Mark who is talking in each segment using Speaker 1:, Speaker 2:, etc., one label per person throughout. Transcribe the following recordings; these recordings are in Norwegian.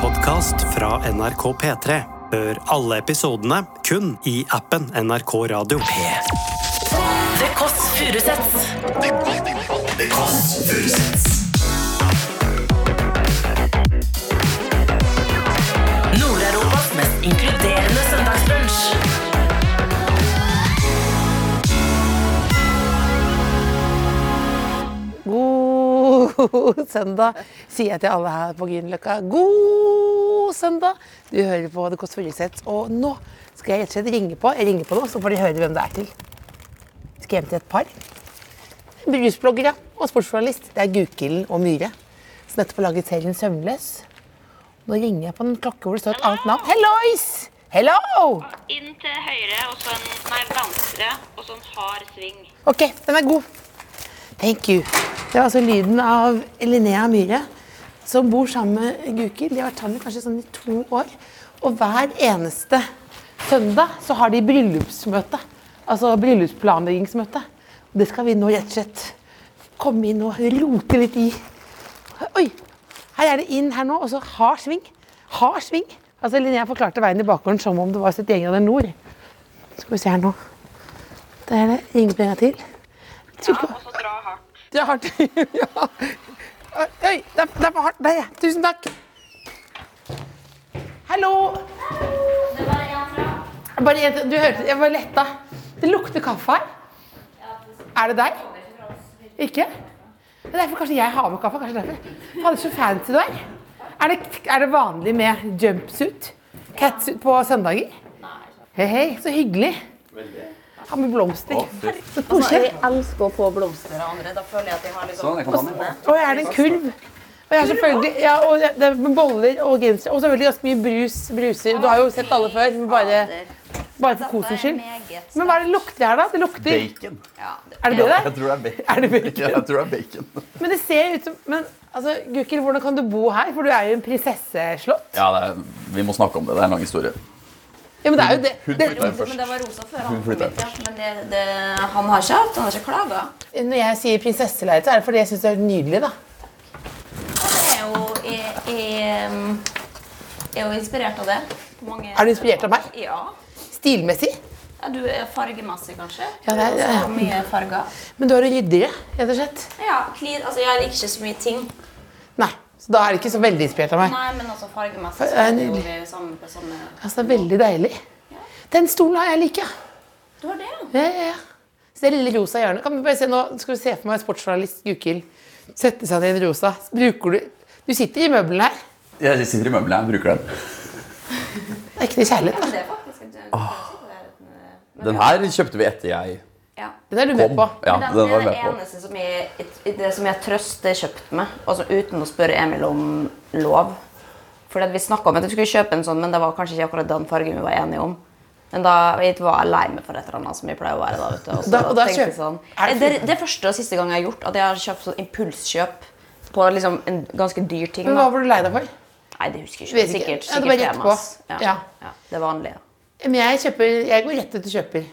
Speaker 1: podkast fra NRK P3. Hør alle episodene kun i appen NRK Radio.
Speaker 2: The Kåss Furuseths. Nord-Europas mest inkluderende søndagsbrunch.
Speaker 3: God søndag, sier jeg til alle her på Grünerløkka. God søndag! Du hører på The Kåss Furuseth, og nå skal jeg rett og slett ringe på. Jeg ringer på nå, så får de høre hvem det er til. Jeg skal hjem til et par. Brusbloggere og sportsjournalist. Det er Gukild og Myhre, som nettopp har laget serien Søvnløs. Nå ringer jeg på en klokke hvor det står et annet navn. Hellois! Hello!
Speaker 4: Inn til høyre, og så en nei, venstre, og så en hard sving.
Speaker 3: Ok, den er god. Thank you. Det var altså lyden av Linnea Myhre, som bor sammen med Guki. De har vært sammen kanskje sånn i to år. Og hver eneste søndag så har de bryllupsmøte. Altså bryllupsplanleggingsmøte. Og det skal vi nå rett og slett komme inn og rote litt i. Oi! Her er det inn her nå, og så hard sving. Hard sving. Altså Linnea forklarte veien i bakgården som om det var sitt eget av nord. Skal vi se her nå. Der er det ringeplinga til.
Speaker 4: Ja, og så dra hardt.
Speaker 3: Det er hardt. ja. Oi, det er, det er for hardt. Der, ja. Tusen takk. Hallo. Bare en til. Du hørte Jeg var letta. Det lukter kaffe her. Er det deg? Ikke? Det er derfor kanskje jeg har med kaffe. Kanskje derfor. Fader, så fancy du er. Er det, er det vanlig med jumpsuit? Catsuit på søndager? Hei, hei. Så hyggelig. Ha med blomster. Så koselig.
Speaker 5: elsker å få blomster av andre. Da føler jeg at jeg har
Speaker 6: Sånn
Speaker 5: liksom
Speaker 3: Og jeg er det en kurv. Og jeg er selvfølgelig, ja, og det det er med boller og genser. Og selvfølgelig ganske mye brus. bruser. Du har jo sett alle før, men bare, bare for kosens skyld. Men hva er det lukter her, da? Det lukter
Speaker 6: Bacon.
Speaker 3: Er det det
Speaker 6: Jeg
Speaker 3: der?
Speaker 6: tror det er bacon.
Speaker 3: Er det bacon?
Speaker 6: Ja, jeg tror det er bacon.
Speaker 3: Men det ser ut som Men altså, Gukild, hvordan kan du bo her? For du er jo en prinsesseslott.
Speaker 6: Ja, det er, vi må snakke om det. Det er en lang historie.
Speaker 3: Ja, men det er jo det.
Speaker 6: Hun
Speaker 3: det
Speaker 6: flytta jo først.
Speaker 5: Men det var rosa før
Speaker 6: Hun
Speaker 5: han kom
Speaker 6: flytta
Speaker 5: hit. ja. Men det, det, han har ikke hatt, han har ikke klaga.
Speaker 3: når jeg sier prinsesseleilighet, så er det fordi jeg syns det er nydelig, da.
Speaker 5: Han er jo, er, er, um, er jo inspirert av det. På mange,
Speaker 3: Er du inspirert av meg?
Speaker 5: Ja.
Speaker 3: Stilmessig.
Speaker 5: ja. Du er fargemessig, kanskje.
Speaker 3: Ja, det er-
Speaker 5: Du har mye farger.
Speaker 3: Men du er ryddigere, rett og slett.
Speaker 5: Ja, clean. Altså, jeg liker ikke så mye ting.
Speaker 3: Nei. Så da er du ikke så veldig inspirert av meg.
Speaker 5: Nei, men altså fargemessig
Speaker 3: Det
Speaker 5: så
Speaker 3: er
Speaker 5: er det jo
Speaker 3: nydelig.
Speaker 5: vi sammen på samme
Speaker 3: Altså, det er veldig deilig. Den stolen har jeg like.
Speaker 5: Du har det, ja.
Speaker 3: Ja, ja, ja. Se det lille rosa hjørnet. Kan vi bare se nå, skal vi se for meg sportsjournalist Gukild sette seg ned i en rosa. Bruker du Du sitter i møblene her.
Speaker 6: Jeg sitter i møblene jeg bruker den.
Speaker 3: Det er ekte kjærlighet.
Speaker 5: Det er faktisk en
Speaker 6: Den her kjøpte vi etter jeg
Speaker 5: ja.
Speaker 3: da. Den er du med
Speaker 6: kom.
Speaker 3: på.
Speaker 6: Ja,
Speaker 5: Men
Speaker 6: den
Speaker 5: det
Speaker 6: var
Speaker 5: er
Speaker 6: jeg
Speaker 5: det
Speaker 6: med på.
Speaker 5: eneste som jeg, det som jeg trøster kjøpt med, altså uten å spørre Emil om lov. Fordi at Vi snakka om at vi skulle kjøpe en sånn, men det var kanskje ikke akkurat den fargen vi var enige om. Men da jeg var jeg lei meg for et eller annet som jeg pleier å være da. vet du. Og så
Speaker 3: Da- og da
Speaker 5: tenkte jeg
Speaker 3: kjøp-
Speaker 5: sånn,
Speaker 3: Er det
Speaker 5: det, er det første og siste gang jeg har gjort at jeg har kjøpt sånn impulskjøp på liksom en ganske dyr ting.
Speaker 3: Men
Speaker 5: Da.
Speaker 3: hva var du lei deg for?
Speaker 5: Nei, det husker jeg
Speaker 3: Vet ikke.
Speaker 5: ikke. Sikkert,
Speaker 3: Ja, det
Speaker 5: sikkert
Speaker 3: var rett på.
Speaker 5: Temas.
Speaker 3: Ja.
Speaker 5: Ja. Ja, det vanlige.
Speaker 3: Men jeg, kjøper, jeg går rett ut og kjøper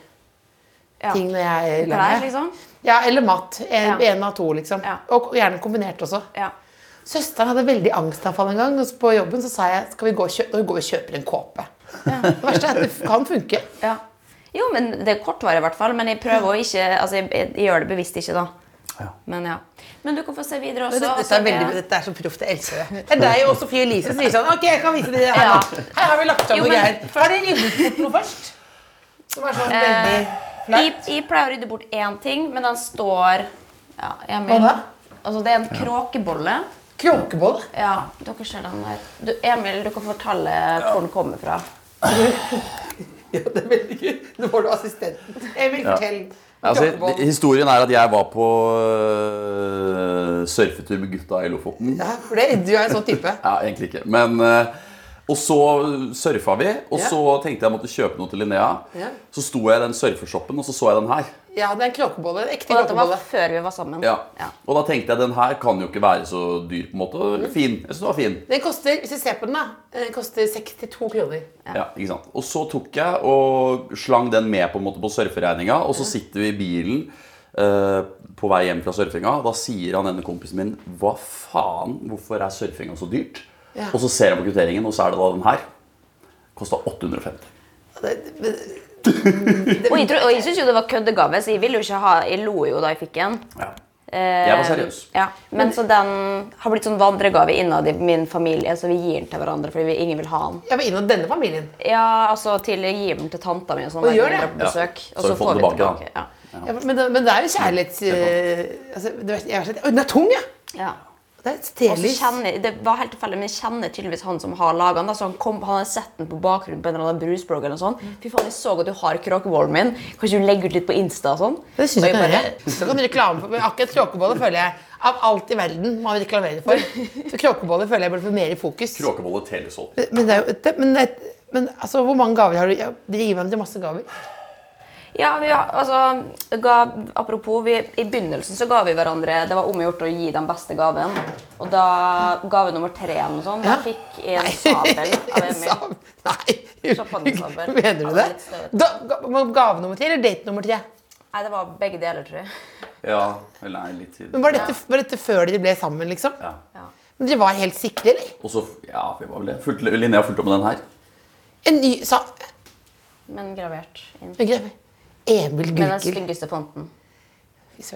Speaker 5: Ja.
Speaker 3: ting når jeg er lei
Speaker 5: Klær,
Speaker 3: meg.
Speaker 5: liksom.
Speaker 3: Ja, eller mat. En,
Speaker 5: Ja.
Speaker 3: en av to, liksom.
Speaker 5: Ja.
Speaker 3: Og gjerne kombinert også.
Speaker 5: Ja.
Speaker 3: Søsteren hadde veldig angstanfall en gang. og så På jobben så sa jeg skal vi gå og, kjø og, gå og kjøpe en kåpe. Det verste er at det kan funke.
Speaker 5: Ja. Jo, men det er kortvarig i hvert fall. Men jeg prøver å ikke Altså, jeg, jeg, jeg gjør det bevisst ikke, da. Men ja. Men du kan få se videre også.
Speaker 3: Dette,
Speaker 5: altså,
Speaker 3: er veldig,
Speaker 5: det-
Speaker 3: dette er så proft, jeg elsker det. Det er deg og Sofie Elise som sier sånn Ok, jeg kan vise dere det her.
Speaker 5: Ja.
Speaker 3: nå. Her har vi lagt av
Speaker 5: Jo,
Speaker 3: noe
Speaker 5: men-
Speaker 3: greier. Har dere ryddet bort noe først? Som er sånn veldig
Speaker 5: jeg,
Speaker 3: flaut?
Speaker 5: jeg pleier å rydde bort én ting, men den står Ja, Emil.
Speaker 3: Hva da?
Speaker 5: Altså, det er en kråkebolle.
Speaker 3: Kråkebolle?
Speaker 5: Ja, dere ser den der. Du, Emil, du kan fortelle hvor den kommer fra.
Speaker 3: Ja, det er veldig gøy. Nå får du assistenten. Emil, fortell.
Speaker 6: Altså,
Speaker 3: Kråkebolle.
Speaker 6: historien er at jeg var på øh, surfetur med gutta i Lofoten.
Speaker 3: Ja, for det, du er en sånn type.
Speaker 6: Ja, egentlig ikke. Men, eh, og så surfa vi, og
Speaker 3: Ja.
Speaker 6: så tenkte jeg jeg måtte kjøpe noe til Linnea.
Speaker 3: Ja.
Speaker 6: Så sto jeg i den surfeshoppen, og så så jeg den her.
Speaker 3: Ja, det er en kråkebolle. En ekte
Speaker 5: Og dette var
Speaker 3: kråkebolle.
Speaker 5: før vi var sammen.
Speaker 6: Ja. Og da tenkte jeg den her kan jo ikke være så dyr, på en måte. Fin. Jeg synes den var fin.
Speaker 3: Den koster, hvis du ser på den, da, den koster 62 kroner.
Speaker 6: Ja, ikke sant? Og så tok jeg og slang den med på, en måte på surferegninga, og så sitter vi i bilen eh, på vei hjem fra surfinga. Da sier han ene kompisen min Hva faen, hvorfor er surfinga så dyrt?
Speaker 3: Ja.
Speaker 6: Og så ser jeg på kvitteringen, og så er det da den her. Kosta 850.
Speaker 5: Og jeg, tro- og jeg syns jo det var køddegave, så jeg ville jo ikke ha Jeg lo jo da jeg fikk den.
Speaker 6: Ja.
Speaker 5: Eh,
Speaker 6: Jeg var seriøs.
Speaker 5: Ja, men så den har blitt sånn vandregave innad i min familie, så vi gir den til hverandre fordi vi, ingen vil ha den.
Speaker 3: Jeg var innom denne familien.
Speaker 5: Ja, altså til jeg gir den til tanta mi og sånn.
Speaker 3: Og
Speaker 5: hver
Speaker 3: gjør det?
Speaker 5: gang jeg drar på
Speaker 6: Ja.
Speaker 5: besøk.
Speaker 6: Så har du fått den tilbake, da.
Speaker 5: Ja.
Speaker 3: Ja, men, det, men det er jo kjærlighets... eh, altså, det verste- jeg har sett- Å, den er tung, ja!
Speaker 5: Ja.
Speaker 3: Det er
Speaker 5: Og så
Speaker 3: stelig.
Speaker 5: kjenner, det var helt tilfeldig, men jeg kjenner tydeligvis han som har laget den. da, så Han, kom, han har sett den på bakgrunnen på en eller annen bruseblogg. eller noe sånt. Fy faen, jeg så at du har kråkebollen min. Kan ikke du legge ut litt på Insta og sånn?
Speaker 3: Det syns
Speaker 5: Og
Speaker 3: jeg kan
Speaker 5: bare-
Speaker 3: gjøre. Så kan du reklame for men akkurat kråkeboller føler jeg Av alt i verden må vi reklamere for. Så kråkeboller føler jeg burde få mer i fokus.
Speaker 6: Kråkebolle Telesol.
Speaker 3: Men, det er jo, det, men, det, men altså, hvor mange gaver har du? Ja, Dere gir hverandre masse gaver.
Speaker 5: Ja, vi, har- altså, ga, apropos, vi, I begynnelsen så ga vi hverandre Det var om å gjort å gi den beste gaven. Og da gave nummer tre eller noe sånt, da
Speaker 3: Ja.
Speaker 5: fikk jeg en sabel
Speaker 3: En
Speaker 5: av Emil.
Speaker 3: sab- Nei,
Speaker 5: Champagnesabel.
Speaker 3: mener du
Speaker 5: Ja, det
Speaker 3: det?
Speaker 5: er litt støt.
Speaker 3: Da, ga- men gave nummer tre eller date nummer tre?
Speaker 5: Nei, det var begge deler, tror jeg.
Speaker 6: Ja, eller nei, litt tidlig.
Speaker 3: Men var dette, var dette før dere ble sammen, liksom?
Speaker 6: Ja.
Speaker 5: Ja.
Speaker 3: Men dere var helt sikre, eller?
Speaker 6: Og så, ja, vi var vel det. Fulgte- Linnea fulgte opp med den her.
Speaker 3: En ny sa...
Speaker 5: Men gravert inn.
Speaker 3: en greie. Emil
Speaker 5: Med den
Speaker 3: Gurkel.
Speaker 5: styggeste fonten.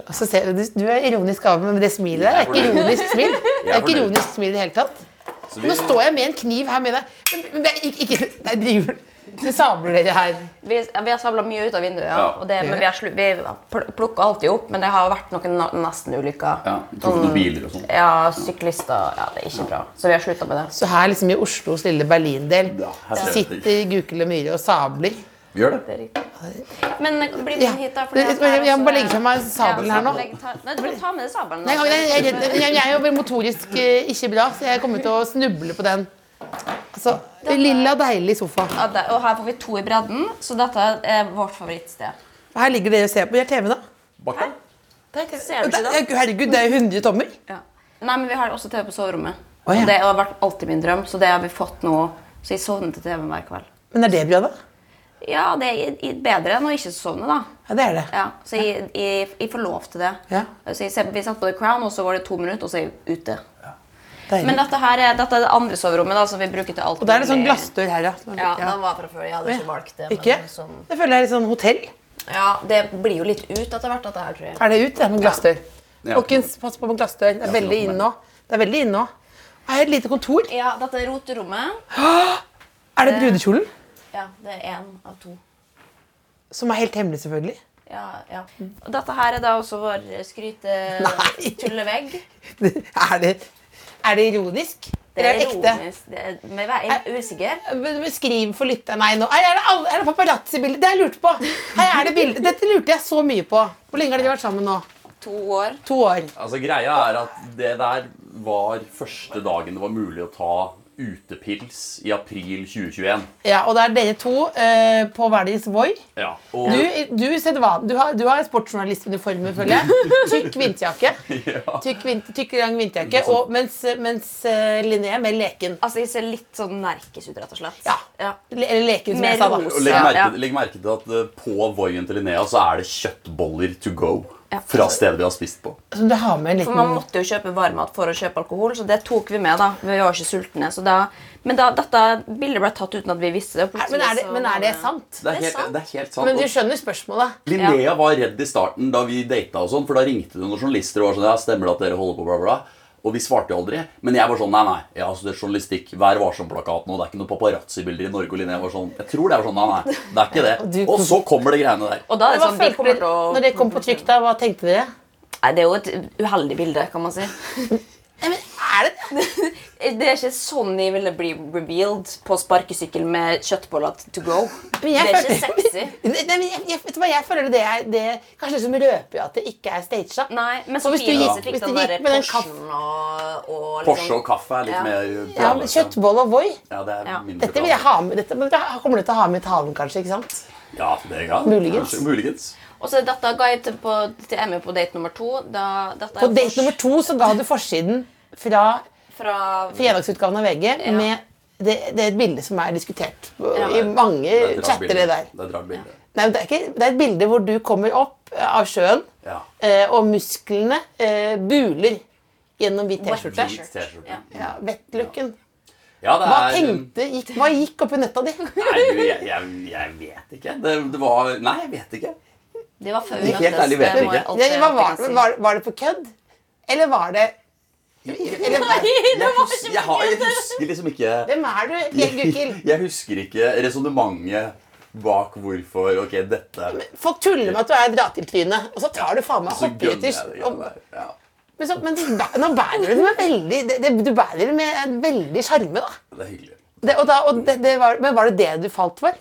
Speaker 3: Altså, se, du, du er ironisk gave, men det smilet der er ikke
Speaker 6: Jeg er fornøyd.
Speaker 3: ironisk smil. Det er ikke
Speaker 6: fornøyd.
Speaker 3: ironisk smil i det hele tatt.
Speaker 6: Så vi-
Speaker 3: Nå står jeg med en kniv her med deg. Men, men det er ikke, ikke Nei, driver Dere sabler dere her.
Speaker 5: Vi, ja, vi har sabla mye ut av vinduet, ja.
Speaker 6: Ja.
Speaker 5: Og det, men vi, har slu, vi pl- plukker alltid opp. Men det har vært noen na- nesten-ulykker.
Speaker 6: Ja, vi tok noen biler og sånn.
Speaker 5: Ja, syklister Ja, det er ikke bra. Så vi har slutta med det.
Speaker 3: Så her liksom i Oslos lille Berlindel
Speaker 6: Ja, her
Speaker 3: så
Speaker 6: ser jeg det.
Speaker 3: sitter Gukild og Myhre og sabler.
Speaker 6: Vi gjør det.
Speaker 5: Men bli
Speaker 3: Ja.
Speaker 5: med hit, da. fordi
Speaker 3: Jeg,
Speaker 5: at det er
Speaker 3: jeg må bare
Speaker 5: også-
Speaker 3: legge fra meg sabelen her nå.
Speaker 5: Legg- ta- Nei, du må ta med deg sabelen.
Speaker 3: Nei, jeg, jeg, jeg, jeg, jeg er jo vel motorisk eh, ikke bra, så jeg kommer til å snuble på den. Altså, Lilla, deilig sofa.
Speaker 5: Ja, det- Og her får vi to i bredden, så dette er vårt favorittsted.
Speaker 3: Her ligger dere og ser på. Vi har TV, da.
Speaker 6: Bakka.
Speaker 5: Ser du ikke da?
Speaker 3: Herregud, det er jo 100 tommer.
Speaker 5: Nei, men vi har også TV på soverommet.
Speaker 3: Å, ja.
Speaker 5: Og det har vært alltid min drøm, så det har vi fått nå. Så jeg sovner til TV hver kveld.
Speaker 3: Men er det bra, da?
Speaker 5: Ja, det er i- i- bedre enn å ikke sovne, da.
Speaker 3: Ja, det er det.
Speaker 5: Ja, så jeg, jeg, jeg får lov til det.
Speaker 3: Ja.
Speaker 5: Så jeg, ser- vi satt på The Crown, og så var det to minutter, og så er jeg ute.
Speaker 3: Deilig.
Speaker 5: Men dette her er, dette er det andre soverommet da, som vi bruker til alt.
Speaker 3: Og da er det sånn
Speaker 5: mulig.
Speaker 3: glassdør her, ja. Som er-
Speaker 5: Ja, den var fra før. Jeg hadde ikke valgt det.
Speaker 3: Eh,
Speaker 5: men
Speaker 3: Ikke?
Speaker 5: sånn-
Speaker 3: Det føler jeg er litt sånn hotell.
Speaker 5: ja, det blir jo litt ut etter hvert, dette her, tror jeg.
Speaker 3: Er det ut? Det er med glassdør.
Speaker 6: Ja.
Speaker 3: Folkens, pass på med glassdør. Det er veldig inn nå. Det er veldig inn nå. Her er et lite kontor.
Speaker 5: Ja, dette er roterommet.
Speaker 3: Er
Speaker 5: Eh.
Speaker 3: det brudekjolen?
Speaker 5: Ja, det er én av to.
Speaker 3: Som er helt hemmelig, selvfølgelig.
Speaker 5: Ja, ja. Og dette her er da også vår
Speaker 3: Mm. Nei.
Speaker 5: skryte-tullevegg.
Speaker 3: Er det, er det ironisk?
Speaker 5: Det er
Speaker 3: ekte?
Speaker 5: ironisk. Det er, men jeg er usikker.
Speaker 3: Men Beskriv for lytteren. Nei, nå er det, alle- er det paparazzi-bilder. Det har jeg lurt på. Her er det bilder. Dette lurte jeg så mye på. Hvor lenge har dere vært sammen nå?
Speaker 5: To år.
Speaker 3: To år.
Speaker 6: Altså, greia er at det der var første dagen det var mulig å ta utepils i april 2021.
Speaker 3: Ja, Og det er dere to eh, på hver deres Voi.
Speaker 6: Ja, og,
Speaker 3: Du, du, sedvan- du har, du har sportsjournalistuniformer, føler jeg. Tykk vinterjakke.
Speaker 6: Ja.
Speaker 3: Tykk, vint, tykk lang vinterjakke. Og mens, mens eh, Linné er mer leken.
Speaker 5: Altså, jeg ser litt sånn nerkis ut, rett og slett.
Speaker 3: Ja. Le- Eller leken, som
Speaker 5: Mer
Speaker 3: jeg sa,
Speaker 5: ros.
Speaker 3: da.
Speaker 6: og legg,
Speaker 5: Ja,
Speaker 6: merke,
Speaker 5: ja.
Speaker 6: legg merke til at eh, på Voien til Linnea så er det kjøttboller to go. Fra stedet vi har spist på.
Speaker 3: Som du har med en
Speaker 5: For man
Speaker 3: liten
Speaker 5: måtte jo kjøpe varmmat for å kjøpe alkohol, så det tok vi med. da. Vi var ikke sultne. så da... Men da, dette bildet ble tatt uten at vi visste det.
Speaker 3: men er, det, men er det sant?
Speaker 6: Det
Speaker 5: liksom, Det er
Speaker 6: er helt
Speaker 5: sant.
Speaker 6: sant. Det er helt sant.
Speaker 3: Men du
Speaker 6: og-
Speaker 3: skjønner spørsmålet.
Speaker 6: Linnea var redd i starten da vi data, og sånn, for da ringte hun noen journalister og var sånn, ja, stemmer det at dere holder på, bla, bla. Og vi svarte jo aldri. Men jeg var sånn, nei, nei, ja, altså, det er journalistikk, vær varsom-plakaten, og det er ikke noen paparazzi-bilder i Norge. Og Linnea var sånn, jeg tror det er sånn, nei, nei, det er ikke det.
Speaker 3: du-
Speaker 6: Og så kommer det greiene der.
Speaker 5: Og da er det
Speaker 3: Hva
Speaker 5: sånn, vi
Speaker 3: følte
Speaker 5: kommer til
Speaker 3: dere
Speaker 5: å...
Speaker 3: når dere kom på trykk, da? Hva tenkte dere?
Speaker 5: Nei, Det er jo et uheldig bilde, kan man si.
Speaker 3: Nei, men er det det?
Speaker 5: Det er ikke sånn jeg ville bli revealed på sparkesykkel med kjøttboller to go.
Speaker 3: Men
Speaker 5: Det
Speaker 3: jeg
Speaker 5: er ikke
Speaker 3: føler-
Speaker 5: sexy.
Speaker 3: Nei, men jeg, jeg, vet du hva, jeg føler det er det, Kanskje det som røper jo at det ikke er staged.
Speaker 5: Nei, men
Speaker 3: Og hvis du
Speaker 5: Sofie
Speaker 3: gikk-
Speaker 5: også fikk
Speaker 3: hvis du
Speaker 5: den
Speaker 3: gikk
Speaker 5: der
Speaker 3: med den
Speaker 5: Porschen og, og liksom-
Speaker 6: Porsche og kaffe er litt
Speaker 5: Ja.
Speaker 6: mer liksom.
Speaker 3: Ja, men kjøttbolle og voi.
Speaker 6: Ja, det er
Speaker 5: Ja.
Speaker 6: mindre
Speaker 3: Dette vil jeg ha med, dette men dere kommer dere til å ha med i talen, kanskje? ikke sant?
Speaker 6: Ja, det er, ja.
Speaker 3: Muligens. Eh,
Speaker 6: Kanskje, muligens.
Speaker 5: Og så dette ga jeg til, på, til Emmy på date nummer to. Da, dette
Speaker 3: På date nummer to så ga du forsiden fra
Speaker 5: Fra,
Speaker 3: fredagsutgaven av VG
Speaker 5: Ja.
Speaker 3: med det, det er et bilde som er diskutert på-
Speaker 5: Ja.
Speaker 3: i mange
Speaker 6: Det er et rart
Speaker 3: chatter.
Speaker 6: bilde.
Speaker 3: det der.
Speaker 6: Det er et rart bilde.
Speaker 3: Nei, men det, er ikke, det er et bilde hvor du kommer opp eh, av sjøen,
Speaker 6: Ja.
Speaker 3: eh, og musklene eh, buler gjennom hvit T-skjorte.
Speaker 5: T-skjorte.
Speaker 6: Hvit T-skjorte.
Speaker 3: Ja, Vettlooken.
Speaker 6: Ja, det
Speaker 3: Hva
Speaker 6: er- eh,
Speaker 3: tenkte, gikk, hva gikk oppi nøtta di?
Speaker 6: Nei, du, jeg, jeg, jeg vet ikke. Det, det var Nei, jeg vet ikke.
Speaker 5: De var før vi
Speaker 6: Helt ærlig vet jeg
Speaker 5: må jeg
Speaker 6: ikke.
Speaker 5: alltid-
Speaker 3: Det, hva var,
Speaker 5: alltid kan si.
Speaker 3: var, var det på kødd? Eller var det eller,
Speaker 6: Jeg, hus, jeg, har, jeg husker liksom ikke
Speaker 3: Hvem er du, Gukild?
Speaker 6: jeg, jeg husker ikke resonnementet bak hvorfor Ok, dette
Speaker 3: Folk tuller med at du er dra til tryne, og så tar du faen meg
Speaker 6: Så gønner jeg
Speaker 3: hopperytters.
Speaker 6: det.
Speaker 3: og-
Speaker 6: greiene der. Ja.
Speaker 3: Men, så- men du bæ- nå bærer du det med veldig det, det, Du bærer det med en veldig sjarme, da.
Speaker 6: Det er hyggelig.
Speaker 3: Det, og da og det, det var, men var det det du falt for?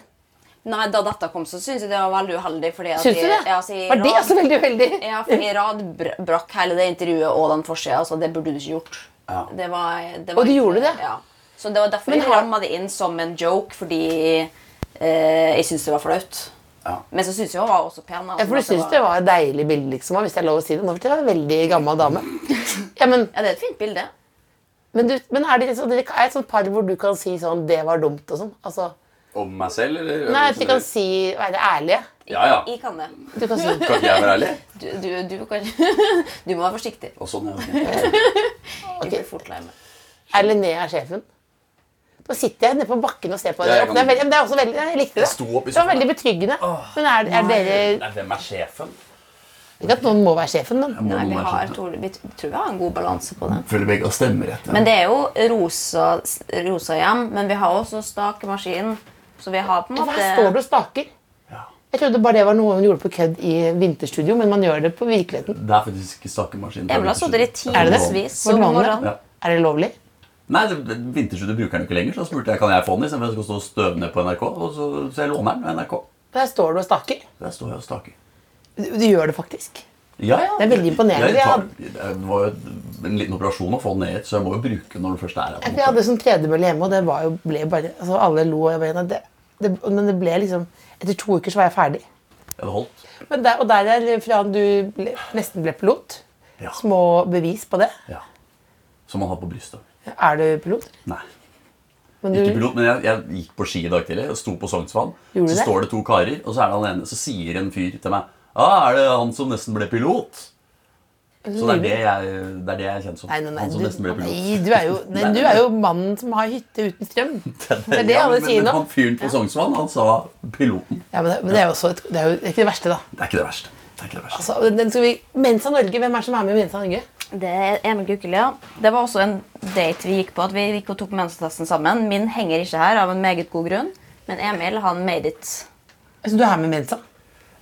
Speaker 5: Nei, da dette kom, så syns jeg det var veldig uheldig. Fordi at
Speaker 3: Syns du
Speaker 5: jeg-
Speaker 3: det?
Speaker 5: Ja, altså, jeg
Speaker 3: Var det
Speaker 5: rad-
Speaker 3: også veldig uheldig?
Speaker 5: Ja, for jeg rad br- brakk hele det intervjuet og den forsida, så det burde du ikke gjort.
Speaker 6: Ja.
Speaker 5: Det var, det var
Speaker 3: Og du
Speaker 5: ikke-
Speaker 3: gjorde det?
Speaker 5: Ja. Så det var derfor
Speaker 3: Men
Speaker 5: jeg
Speaker 3: har-
Speaker 5: ramma det inn som en joke, fordi eh, jeg syntes det var flaut.
Speaker 6: Ja.
Speaker 5: Men så syns jeg hun var også pen.
Speaker 3: Ja, For du syns det var et deilig bilde, liksom, hvis det er lov å si det. Nå for tiden er det en veldig gammel dame. Ja, men,
Speaker 5: Ja, det er et fint bilde.
Speaker 3: men, du, men er det liksom, dere er et sånt par hvor du kan si sånn 'det var dumt' og sånn? Altså,
Speaker 6: Om meg selv, eller?
Speaker 3: nei, at de kan si Være ærlige.
Speaker 6: Ja, ja.
Speaker 5: Jeg kan det.
Speaker 3: Du kan si
Speaker 6: Kan ikke jeg være ærlig?
Speaker 5: Du, du, du, kan... du må være forsiktig.
Speaker 6: Og sånn, ja. ok.
Speaker 5: Jeg blir fort lei meg.
Speaker 3: Er Linnea sjefen? Nå sitter jeg nede på bakken og ser på dere.
Speaker 6: jeg kan-
Speaker 3: Det er, veldig, men det er også veldig, jeg likte det.
Speaker 6: Jeg sto opp i
Speaker 3: det var
Speaker 6: sofaen.
Speaker 3: veldig betryggende. Men er, er dere
Speaker 5: Eh,
Speaker 6: Nei, hvem er sjefen?
Speaker 3: Ikke at noen må være sjefen, men
Speaker 5: Nei, vi, har, tror, vi tror vi har en god balanse på det.
Speaker 6: Føler begge har stemmerett.
Speaker 5: Men det er jo rosa, rosa hjem, men vi har også stakemaskin. Så vi har på en
Speaker 3: Hvorfor her står du
Speaker 5: måte
Speaker 3: og staker? Jeg trodde bare det var noe man gjorde på kødd i vinterstudio, men man gjør det på virkeligheten.
Speaker 6: Det er faktisk ikke stakemaskinen.
Speaker 5: Jeg vil ha stått der i
Speaker 3: Er det det?
Speaker 5: timevis
Speaker 3: Var det vanlig?
Speaker 5: om morgenen.
Speaker 6: Ja.
Speaker 3: Er det lovlig?
Speaker 6: Nei, det- vinterstudio bruker den jo ikke lenger, så da spurte jeg kan jeg få den istedenfor at jeg skal stå og støve ned på NRK. Og så, så jeg låner den av NRK.
Speaker 3: Der står du og staker.
Speaker 6: Der står jeg og staker.
Speaker 3: Du, du gjør det faktisk.
Speaker 6: Ja, ja.
Speaker 3: Det er veldig imponerende.
Speaker 6: Jeg tar, det var jo en liten operasjon å få den ned hit, så jeg må jo bruke den når den først er her. på en
Speaker 3: For jeg
Speaker 6: måte.
Speaker 3: hadde sånn tredemølle hjemme, og det var jo, ble bare, altså alle lo. og Jeg bare, nei, det, det, men det ble liksom Etter to uker så var jeg ferdig.
Speaker 6: Jeg hadde holdt.
Speaker 3: Men der, og der er fra du ble, nesten ble pilot.
Speaker 6: Ja.
Speaker 3: Små bevis på det.
Speaker 6: Ja. Som man har på brystet.
Speaker 3: Er du pilot?
Speaker 6: Nei.
Speaker 3: Men
Speaker 6: Ikke
Speaker 3: du,
Speaker 6: pilot, men jeg, jeg gikk på ski i dag tidlig og sto på Sognsvann.
Speaker 3: Gjorde du
Speaker 6: så
Speaker 3: det?
Speaker 6: står det to karer, og så er det han ene, så sier en fyr til meg ah, er det han som nesten ble pilot? Så det er det jeg, det er det jeg er kjent som.
Speaker 3: nei, nei, nei,
Speaker 6: han
Speaker 3: du,
Speaker 6: som nesten ble pilot.
Speaker 3: nei, du er jo, nei, du er jo mannen som har hytte uten strøm. Det er det
Speaker 6: Ja,
Speaker 3: alle
Speaker 6: men-
Speaker 3: sier
Speaker 6: men
Speaker 3: nå.
Speaker 6: Han fyren på Sognsvann, han sa piloten.
Speaker 3: Ja, men det, men det er jo også et, det er jo det er ikke det verste, da.
Speaker 6: Det er ikke det verste. Det er ikke det verste.
Speaker 3: Altså, den skal vi, Mensa Norge, hvem er det som er med i Mensa Norge?
Speaker 5: Det er Emil Gukild, ja. Det var også en date vi gikk på. at Vi gikk og tok mensatesten sammen. Min henger ikke her av en meget god grunn, men Emil han made it.
Speaker 3: Altså, du er med i Mensa.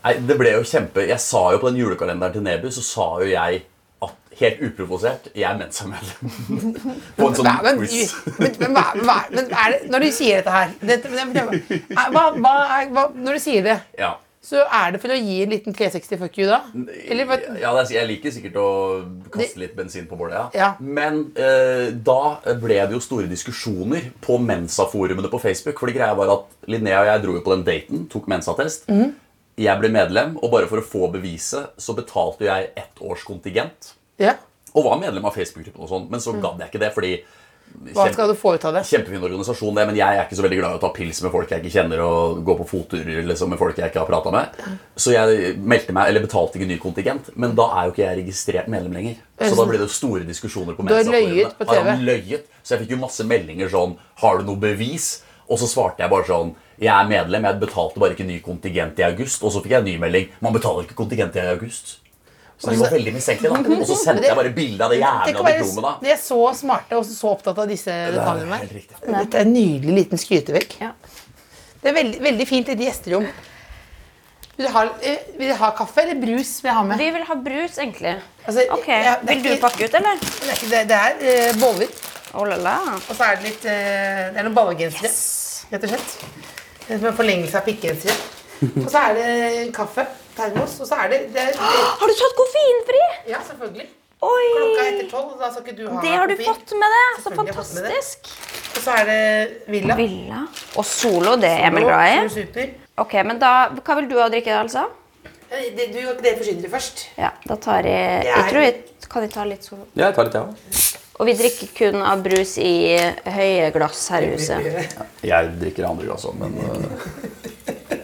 Speaker 6: Nei, det ble jo kjempe... Jeg sa jo på den julekalenderen til Nebu, så sa jo jeg at, helt uprovosert, jeg er Mensa-medlem. på en sånn
Speaker 3: Hva- men,
Speaker 6: quiz.
Speaker 3: men, men, hva- hva- men er det, når du sier dette her dette, men jeg prøver- er- hva, hva, er- hva, Når du sier det,
Speaker 6: Ja.
Speaker 3: så er det for å gi en liten 360 fuck you, da? Eller hva,
Speaker 6: ja, det er, jeg liker sikkert å kaste litt bensin på bålet, ja.
Speaker 3: Ja.
Speaker 6: Men eh, da ble det jo store diskusjoner på Mensa-forumene på Facebook. For greia var at Linnea og jeg dro jo på den daten, tok Mensa-test. Jeg ble medlem, og bare for å få beviset så betalte jeg ett års kontingent.
Speaker 3: ja,
Speaker 6: Og var medlem av Facebook-gruppen og sånn, men så gadd jeg ikke det, fordi
Speaker 3: Mm. hva skal du få ut av det?
Speaker 6: Kjempefin organisasjon, det, men jeg er ikke så veldig glad i å ta pils med folk jeg ikke kjenner, og gå på fotturer liksom, med folk jeg ikke har prata med. Så jeg meldte meg, eller betalte ikke ny kontingent, men da er jo ikke jeg registrert medlem lenger. Så da ble det jo store diskusjoner på
Speaker 3: Du har
Speaker 6: Mensa-forumene.
Speaker 3: løyet på
Speaker 6: Har han
Speaker 3: TV?
Speaker 6: løyet? Så jeg fikk jo masse meldinger sånn Har du noe bevis? Og så svarte jeg bare sånn Jeg er medlem, jeg betalte bare ikke ny kontingent i august. Og så fikk jeg en ny melding. Man betaler ikke kontingent i august. Så de var veldig mistenkelige, da. Og så sendte jeg bare bilde av det
Speaker 3: Altså, Tenk å
Speaker 6: jævla
Speaker 3: være-
Speaker 6: diplomet, da.
Speaker 3: De er så smarte og så opptatt av disse detaljene.
Speaker 6: helt riktig.
Speaker 3: Dette er en nydelig liten skrytevegg.
Speaker 5: Ja.
Speaker 3: Det er veldig, veldig fint i gjesterom. Vil du, ha, eh, vil du ha kaffe eller brus? Vil jeg ha med?
Speaker 5: Vi vil ha brus, egentlig.
Speaker 3: Altså,
Speaker 5: Ok,
Speaker 3: ja, det er
Speaker 5: Vil du
Speaker 3: ikke-
Speaker 5: pakke ut, eller?
Speaker 3: Det er, ikke, det, det er eh, boller,
Speaker 5: Oh, la, la.
Speaker 3: og så er det litt eh, Det er noen ballegensere, rett og slett. Det er som en forlengelse av pikkegensere. Og så er det kaffe, termos, og så er det, det er,
Speaker 5: Har du tatt koffeinfri?
Speaker 3: Ja, selvfølgelig.
Speaker 5: Oi!
Speaker 3: Klokka er etter tolv, og da skal ikke du ha
Speaker 5: Det har du
Speaker 3: kopi.
Speaker 5: fått med deg! Så
Speaker 3: Selvfølgelig har jeg fått med det.
Speaker 5: fantastisk.
Speaker 3: Og så er det Villa.
Speaker 5: Villa. Og Solo, det er Emil glad i.
Speaker 3: Sol Super.
Speaker 5: Ok, men da, Hva vil du ha å drikke, altså?
Speaker 3: Ja, det- Du og dere forsyner dere først.
Speaker 5: Ja, da tar jeg Jeg tror jeg kan jeg ta litt Solo.
Speaker 6: Ja, jeg tar litt, jeg ja.
Speaker 5: Og vi drikker kun av brus i høye glass her i huset.
Speaker 6: Jeg drikker andre glass òg, men øh,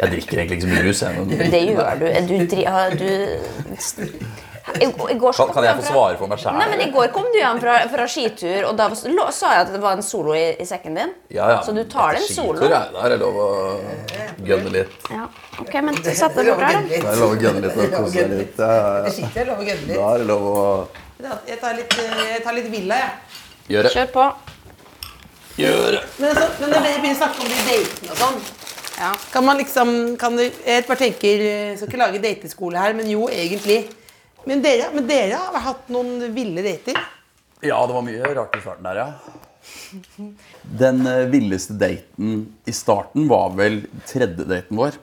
Speaker 6: Jeg drikker egentlig ikke så mye rus. Jeg, men,
Speaker 5: Det gjør du. Du, dri- har- du I, i går så
Speaker 6: Kan, kan jeg få
Speaker 5: kom du hjem fra-
Speaker 6: svare for meg
Speaker 5: Nei, men
Speaker 6: sjæl?
Speaker 5: I går kom du hjem fra, fra skitur, og da s- lå- sa jeg at det var en solo i, i sekken din. Så du tar den soloen.
Speaker 6: Ja, da er det lov å gønne litt.
Speaker 5: Ja. Ok, men sett deg bort her, da.
Speaker 6: Da er det lov å gønne litt og kose seg litt. Ja, ja,
Speaker 7: Det
Speaker 6: ja.
Speaker 7: sitter lov å gønne
Speaker 6: Da
Speaker 7: litt.
Speaker 6: er det lov å
Speaker 7: Jeg tar litt, eh, jeg tar litt villa, jeg.
Speaker 6: gjøre
Speaker 5: Kjør på.
Speaker 6: Gjøre.
Speaker 3: Men, altså, men når dere begynner å snakke om de datene og sånn
Speaker 5: Ja.
Speaker 3: Kan man liksom kan det, Jeg bare tenker eh, Skal ikke lage dateskole her, men jo, egentlig. Men dere, men dere har hatt noen ville dater?
Speaker 6: Ja, det var mye rart i starten der, ja. Den eh, villeste daten i starten var vel tredje daten vår.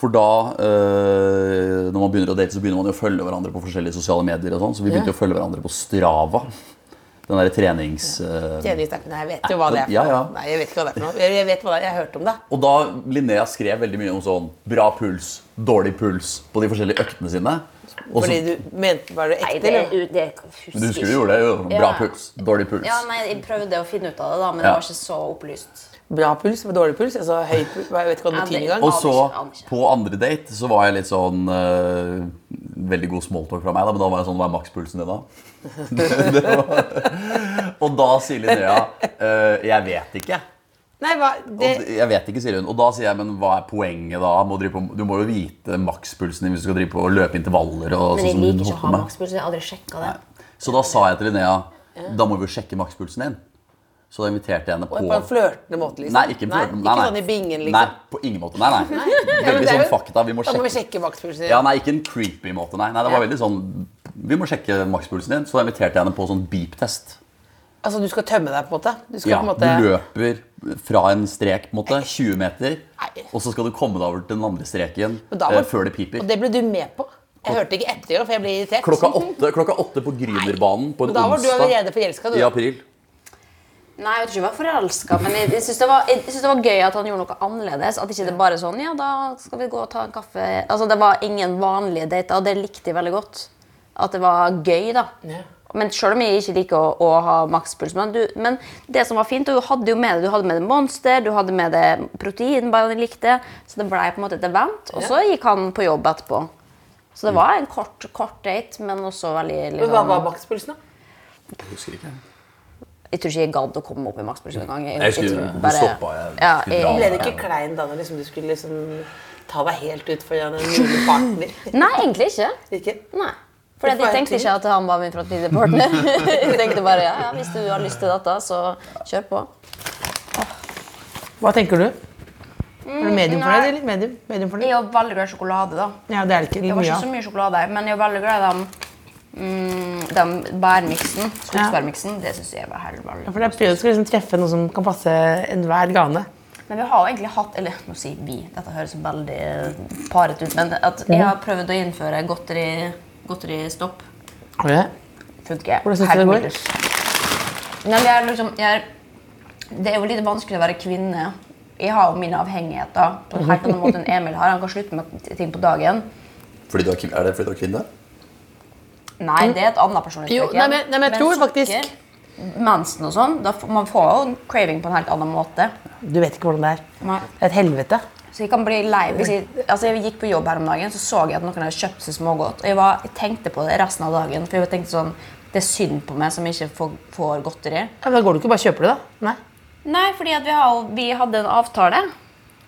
Speaker 6: For da, eh, når man begynner å date, så begynner man jo å følge hverandre på forskjellige sosiale medier. og sånn, Så vi begynte å følge hverandre på Strava. Den derre trenings... eh,
Speaker 3: Nei, jeg vet jo hva det er. for
Speaker 6: Ja, ja.
Speaker 3: noe. Nei, jeg vet ikke hva det er for noe. Jeg, jeg vet hva det er. Jeg har hørt om det.
Speaker 6: Og da Linnea skrev veldig mye om sånn bra puls, dårlig puls på de forskjellige øktene sine. Og
Speaker 3: Fordi
Speaker 6: så,
Speaker 3: du mente Var du ekte,
Speaker 5: Nei, det,
Speaker 3: eller?
Speaker 5: det, det husker
Speaker 6: du husker du gjorde det? jo, sånn Bra
Speaker 5: Ja.
Speaker 6: puls, dårlig puls.
Speaker 5: Ja, nei, Jeg prøvde å finne ut av det, da, men
Speaker 6: Ja.
Speaker 5: jeg var ikke så opplyst.
Speaker 3: Bra puls? Dårlig puls? Altså høy puls? Jeg vet ikke hva det
Speaker 5: Ja,
Speaker 3: betyr
Speaker 5: det-
Speaker 3: engang.
Speaker 6: Og så,
Speaker 5: Aner ikke, aner ikke.
Speaker 6: på andre date, så var jeg litt sånn eh, Veldig god smalltalk fra meg, da, men da var jeg sånn Hva er makspulsen din, da? det var, og da sier Linnea eh, Jeg vet ikke.
Speaker 3: Nei, hva, det,
Speaker 6: Og, jeg vet ikke, sier hun. Og da sier jeg, men hva er poenget da? Må drive på, du må jo vite makspulsen din hvis du skal drive på og løpe intervaller. Og,
Speaker 5: Men jeg
Speaker 6: sånn som hun
Speaker 5: liker ikke å
Speaker 6: holdt på
Speaker 5: ha
Speaker 6: med.
Speaker 5: makspuls. Jeg har aldri sjekka det.
Speaker 6: Så da sa jeg til Linnea da må vi jo sjekke makspulsen din. Så da inviterte jeg henne på
Speaker 3: på en flørtende måte, liksom?
Speaker 6: Nei, ikke, en flørten. nei, nei.
Speaker 3: sånn i bingen,
Speaker 6: Nei,
Speaker 3: liksom?
Speaker 6: på ingen måte. Nei, nei.
Speaker 3: men
Speaker 6: Veldig
Speaker 3: det er
Speaker 6: sånn
Speaker 3: jo-
Speaker 6: fakta. Vi må
Speaker 3: Da må vi
Speaker 6: sjekke.
Speaker 3: sjekke makspulsen.
Speaker 6: Ja, nei, ikke en creepy måte, nei. nei det
Speaker 3: Ja.
Speaker 6: var veldig sånn Vi må sjekke makspulsen din. Så da inviterte jeg henne på sånn beep-test.
Speaker 3: Altså, du skal tømme deg, på en måte? Du skal
Speaker 6: Ja,
Speaker 3: på en
Speaker 6: du
Speaker 3: måte...
Speaker 6: løper fra en strek, på en måte, 20 meter,
Speaker 3: Nei.
Speaker 6: og så skal du komme deg over til den andre streken
Speaker 3: Men da
Speaker 6: eh,
Speaker 3: var-
Speaker 6: før det piper.
Speaker 3: Og det ble du med på? Jeg hørte ikke etter, for jeg ble irritert. Sånn.
Speaker 6: Klokka åtte, klokka åtte på Grünerbanen på en
Speaker 3: Men Da var du allerede
Speaker 6: onsdag
Speaker 3: forelska, du.
Speaker 6: i april.
Speaker 5: Nei, jeg vet ikke om jeg var forelska, men jeg, jeg syns det, var- jeg synes det var gøy at han gjorde noe annerledes. At ikke det bare sånn Ja, da skal vi gå og ta en kaffe. Altså, Det var ingen vanlige dater, og det likte jeg veldig godt. At det var gøy, da.
Speaker 3: Ja.
Speaker 5: Men selv om jeg ikke liker å, å ha makspuls men, du, men det som var fint, du hadde jo med det, du hadde med det Monster, du hadde med det protein, bare jeg likte. Så det ble på en måte et event. Og så gikk han på jobb etterpå. Så det var en kort, kort date, men også veldig
Speaker 3: Mm. Men Hva
Speaker 5: liksom,
Speaker 3: var makspulsen, da?
Speaker 6: Husker ikke.
Speaker 5: Jeg tror ikke jeg gadd å komme opp i makspuls engang.
Speaker 6: Jeg husker
Speaker 5: tror
Speaker 6: du
Speaker 5: bare-
Speaker 6: stoppet, jeg
Speaker 5: Ja,
Speaker 6: skulle
Speaker 5: jeg-
Speaker 6: dra.
Speaker 3: Ble det ikke klein da når liksom, du skulle liksom ta deg helt ut for en mulig partner?
Speaker 5: Nei, egentlig ikke.
Speaker 3: Ikke?
Speaker 5: Nei. For jeg
Speaker 3: Hvorfor er det
Speaker 5: tenkte ikke at han var min framtidige partner. jeg tenkte bare ja, ja, hvis du har lyst til dette, så kjør på.
Speaker 3: Hva tenker du? Er du medium for
Speaker 5: nei.
Speaker 3: deg, eller? Medium, medium for
Speaker 5: Jeg
Speaker 3: deg?
Speaker 5: er veldig glad i sjokolade, da.
Speaker 3: Ja, det er det ikke
Speaker 5: Det var
Speaker 3: mye
Speaker 5: ikke
Speaker 3: av.
Speaker 5: så mye sjokolade, men jeg er veldig glad i dem. Mm, den bærmiksen, skogsbærmiksen, det syns jeg var helt
Speaker 3: Ja,
Speaker 5: veldig
Speaker 3: For jeg prøver å skulle liksom treffe noe som kan passe enhver gane.
Speaker 5: Men vi har jo egentlig hatt Eller nå sier vi, dette høres veldig paret ut, men at jeg har prøvd å innføre godteri- godteristopp.
Speaker 3: Har du det?
Speaker 5: Funker
Speaker 3: Hvordan synes du det går?
Speaker 5: middels. Nei, men jeg er liksom jeg er, Det er jo litt vanskelig å være kvinne. Jeg har jo mine avhengigheter på en helt annen måte enn Emil har. Han kan slutte med ting på dagen.
Speaker 6: Fordi du er, kvin- er det fordi du er kvinne?
Speaker 5: Nei, det er et annet personlig
Speaker 3: Mm. Jo, nei, men- nei, men jeg tror faktisk-
Speaker 5: Mensen og sånn. Da, f- man får jo en craving på en helt annen måte.
Speaker 3: Du vet ikke hvordan det er.
Speaker 5: Nei.
Speaker 3: Det er et helvete.
Speaker 5: Så jeg kan bli lei hvis jeg, altså jeg gikk på jobb her om dagen, så så jeg at noen hadde kjøpt seg smågodt. Og jeg, var, jeg tenkte på det resten av dagen. For jeg tenkte sånn Det er synd på meg som ikke får, får godteri.
Speaker 3: Ja, men da går du ikke bare og kjøper det, da? Nei.
Speaker 5: Nei, fordi at vi, har, jo- vi hadde en avtale.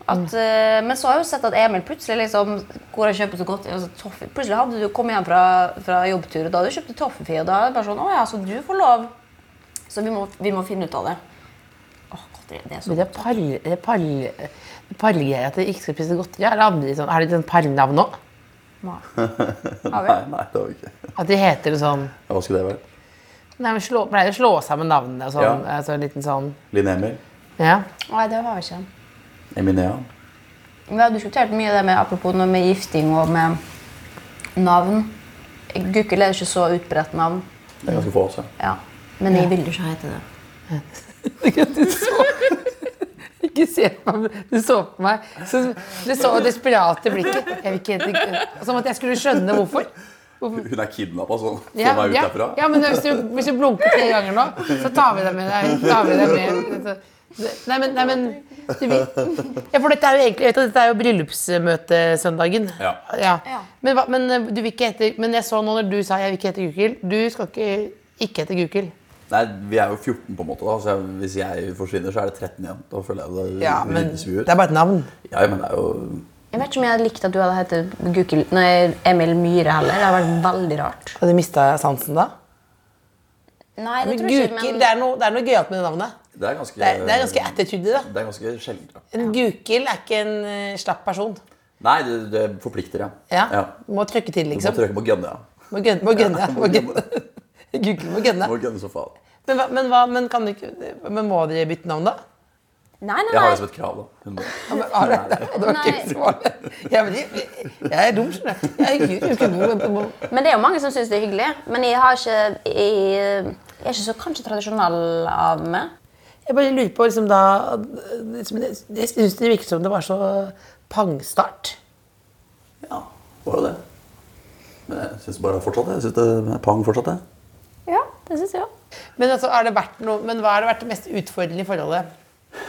Speaker 5: At, eh, men så har jeg jo sett at Emil plutselig liksom går og kjøper så godt altså, toffee. Plutselig hadde du kommet hjem fra, fra jobbtur, og da hadde du kjøpt toffee. Og da er det bare sånn Å ja, så du får lov. Så vi må, vi må finne ut av det. Åh, godteri, det er så
Speaker 3: Men det er pall... Det er pall... det er Pallgreier at jeg ikke skal spise godteri? Er det andre sånn, har de sånn pallnavn nå?
Speaker 5: Har vi?
Speaker 6: nei, det var ikke
Speaker 3: At de heter det sånn
Speaker 6: Hva skulle det være?
Speaker 3: Nei, men slå, pleier å slå sammen navnene og sånn.
Speaker 6: Ja.
Speaker 3: Altså en liten sånn
Speaker 6: Linn Emil?
Speaker 3: Ja.
Speaker 5: Nei, det har vi ikke.
Speaker 6: Eminea?
Speaker 5: Vi har diskutert mye det med, apropos noe med gifting og med navn. Gukkel er jo ikke så utbredt navn.
Speaker 6: Det er ganske få, altså.
Speaker 5: Ja. Men jeg vil jo ikke hete det.
Speaker 3: Du så Ikke se på meg. Du så på meg. Så, du så det desperate blikket. Jeg vil ikke hete Som at jeg skulle skjønne hvorfor.
Speaker 6: Hun er kidnappa, sånn. Få
Speaker 3: Ja,
Speaker 6: meg ut
Speaker 3: ja,
Speaker 6: derfra.
Speaker 3: ja, men hvis du, hvis du blunker tre ganger nå, så tar vi deg med. Deg, tar vi deg med. altså, Nei, men, nei, men du vet, ja, for dette er jo egentlig, jeg vet at dette er jo bryllupsmøtesøndagen.
Speaker 6: Ja.
Speaker 3: Men, hva- men eh, du vil ikke hete Men jeg så nå når du sa jeg vil ikke hete Gukild. Du skal ikke ikke hete Gukild.
Speaker 6: Nei, vi er jo 14 på en måte, da, så jeg, hvis jeg forsvinner, så er det 13 igjen. Da føler jeg det
Speaker 3: Ja, men
Speaker 6: ryddes vi
Speaker 3: det
Speaker 6: ut.
Speaker 3: er bare et navn.
Speaker 6: Ja, men det er jo
Speaker 5: Jeg vet ikke om jeg hadde likt at du hadde hett Gukild, nei, Emil Myhre heller. Det hadde vært veldig rart.
Speaker 3: Hadde mista jeg sansen da?
Speaker 5: Nei, det
Speaker 3: Men
Speaker 5: tror jeg ikke,
Speaker 3: Gukild,
Speaker 5: men
Speaker 3: det er noe, det er noe gøyalt med det navnet.
Speaker 6: Det er ganske
Speaker 3: Det er, det er ganske attitude i det.
Speaker 6: Det er ganske sjeldent. Ja.
Speaker 3: En Gukild er ikke en eh, slapp person.
Speaker 6: Nei, det, det forplikter, ja.
Speaker 3: Ja.
Speaker 6: ja.
Speaker 3: Du må trykke til,
Speaker 6: Du må
Speaker 3: liksom.
Speaker 6: trykke på gunne, ja.
Speaker 3: Må gønne. Må gønne.
Speaker 6: må
Speaker 3: Må
Speaker 6: gønne.
Speaker 3: gønne. Gukild må gønne.
Speaker 6: Du må gunne så faen.
Speaker 3: Men, hva- men, hva, men, kan du ikke, men må dere bytte navn, da?
Speaker 5: Nei, nei,
Speaker 6: Jeg har
Speaker 5: nei.
Speaker 6: det som et krav, da. 100.
Speaker 3: Har du? Det var ikke
Speaker 5: Nei.
Speaker 3: svaret. Jeg, vet ikke. jeg er dum, skjønner du. Jeg er ikke- jeg er ikke god på- på-
Speaker 5: Men det er jo mange som syns det er hyggelig. Men jeg, har ikke, jeg, jeg er ikke så kanskje tradisjonell av meg.
Speaker 3: Jeg bare lurer på liksom, da liksom, det- Jeg syns det virket som det var så pangstart.
Speaker 6: Ja, det var jo det. Men jeg syns bare fortsatt det. Jeg synes det er pang fortsatt, jeg.
Speaker 5: Ja, det syns jeg òg.
Speaker 3: Men, altså, har det vært noe, men hva har det vært det mest utfordrende i forholdet?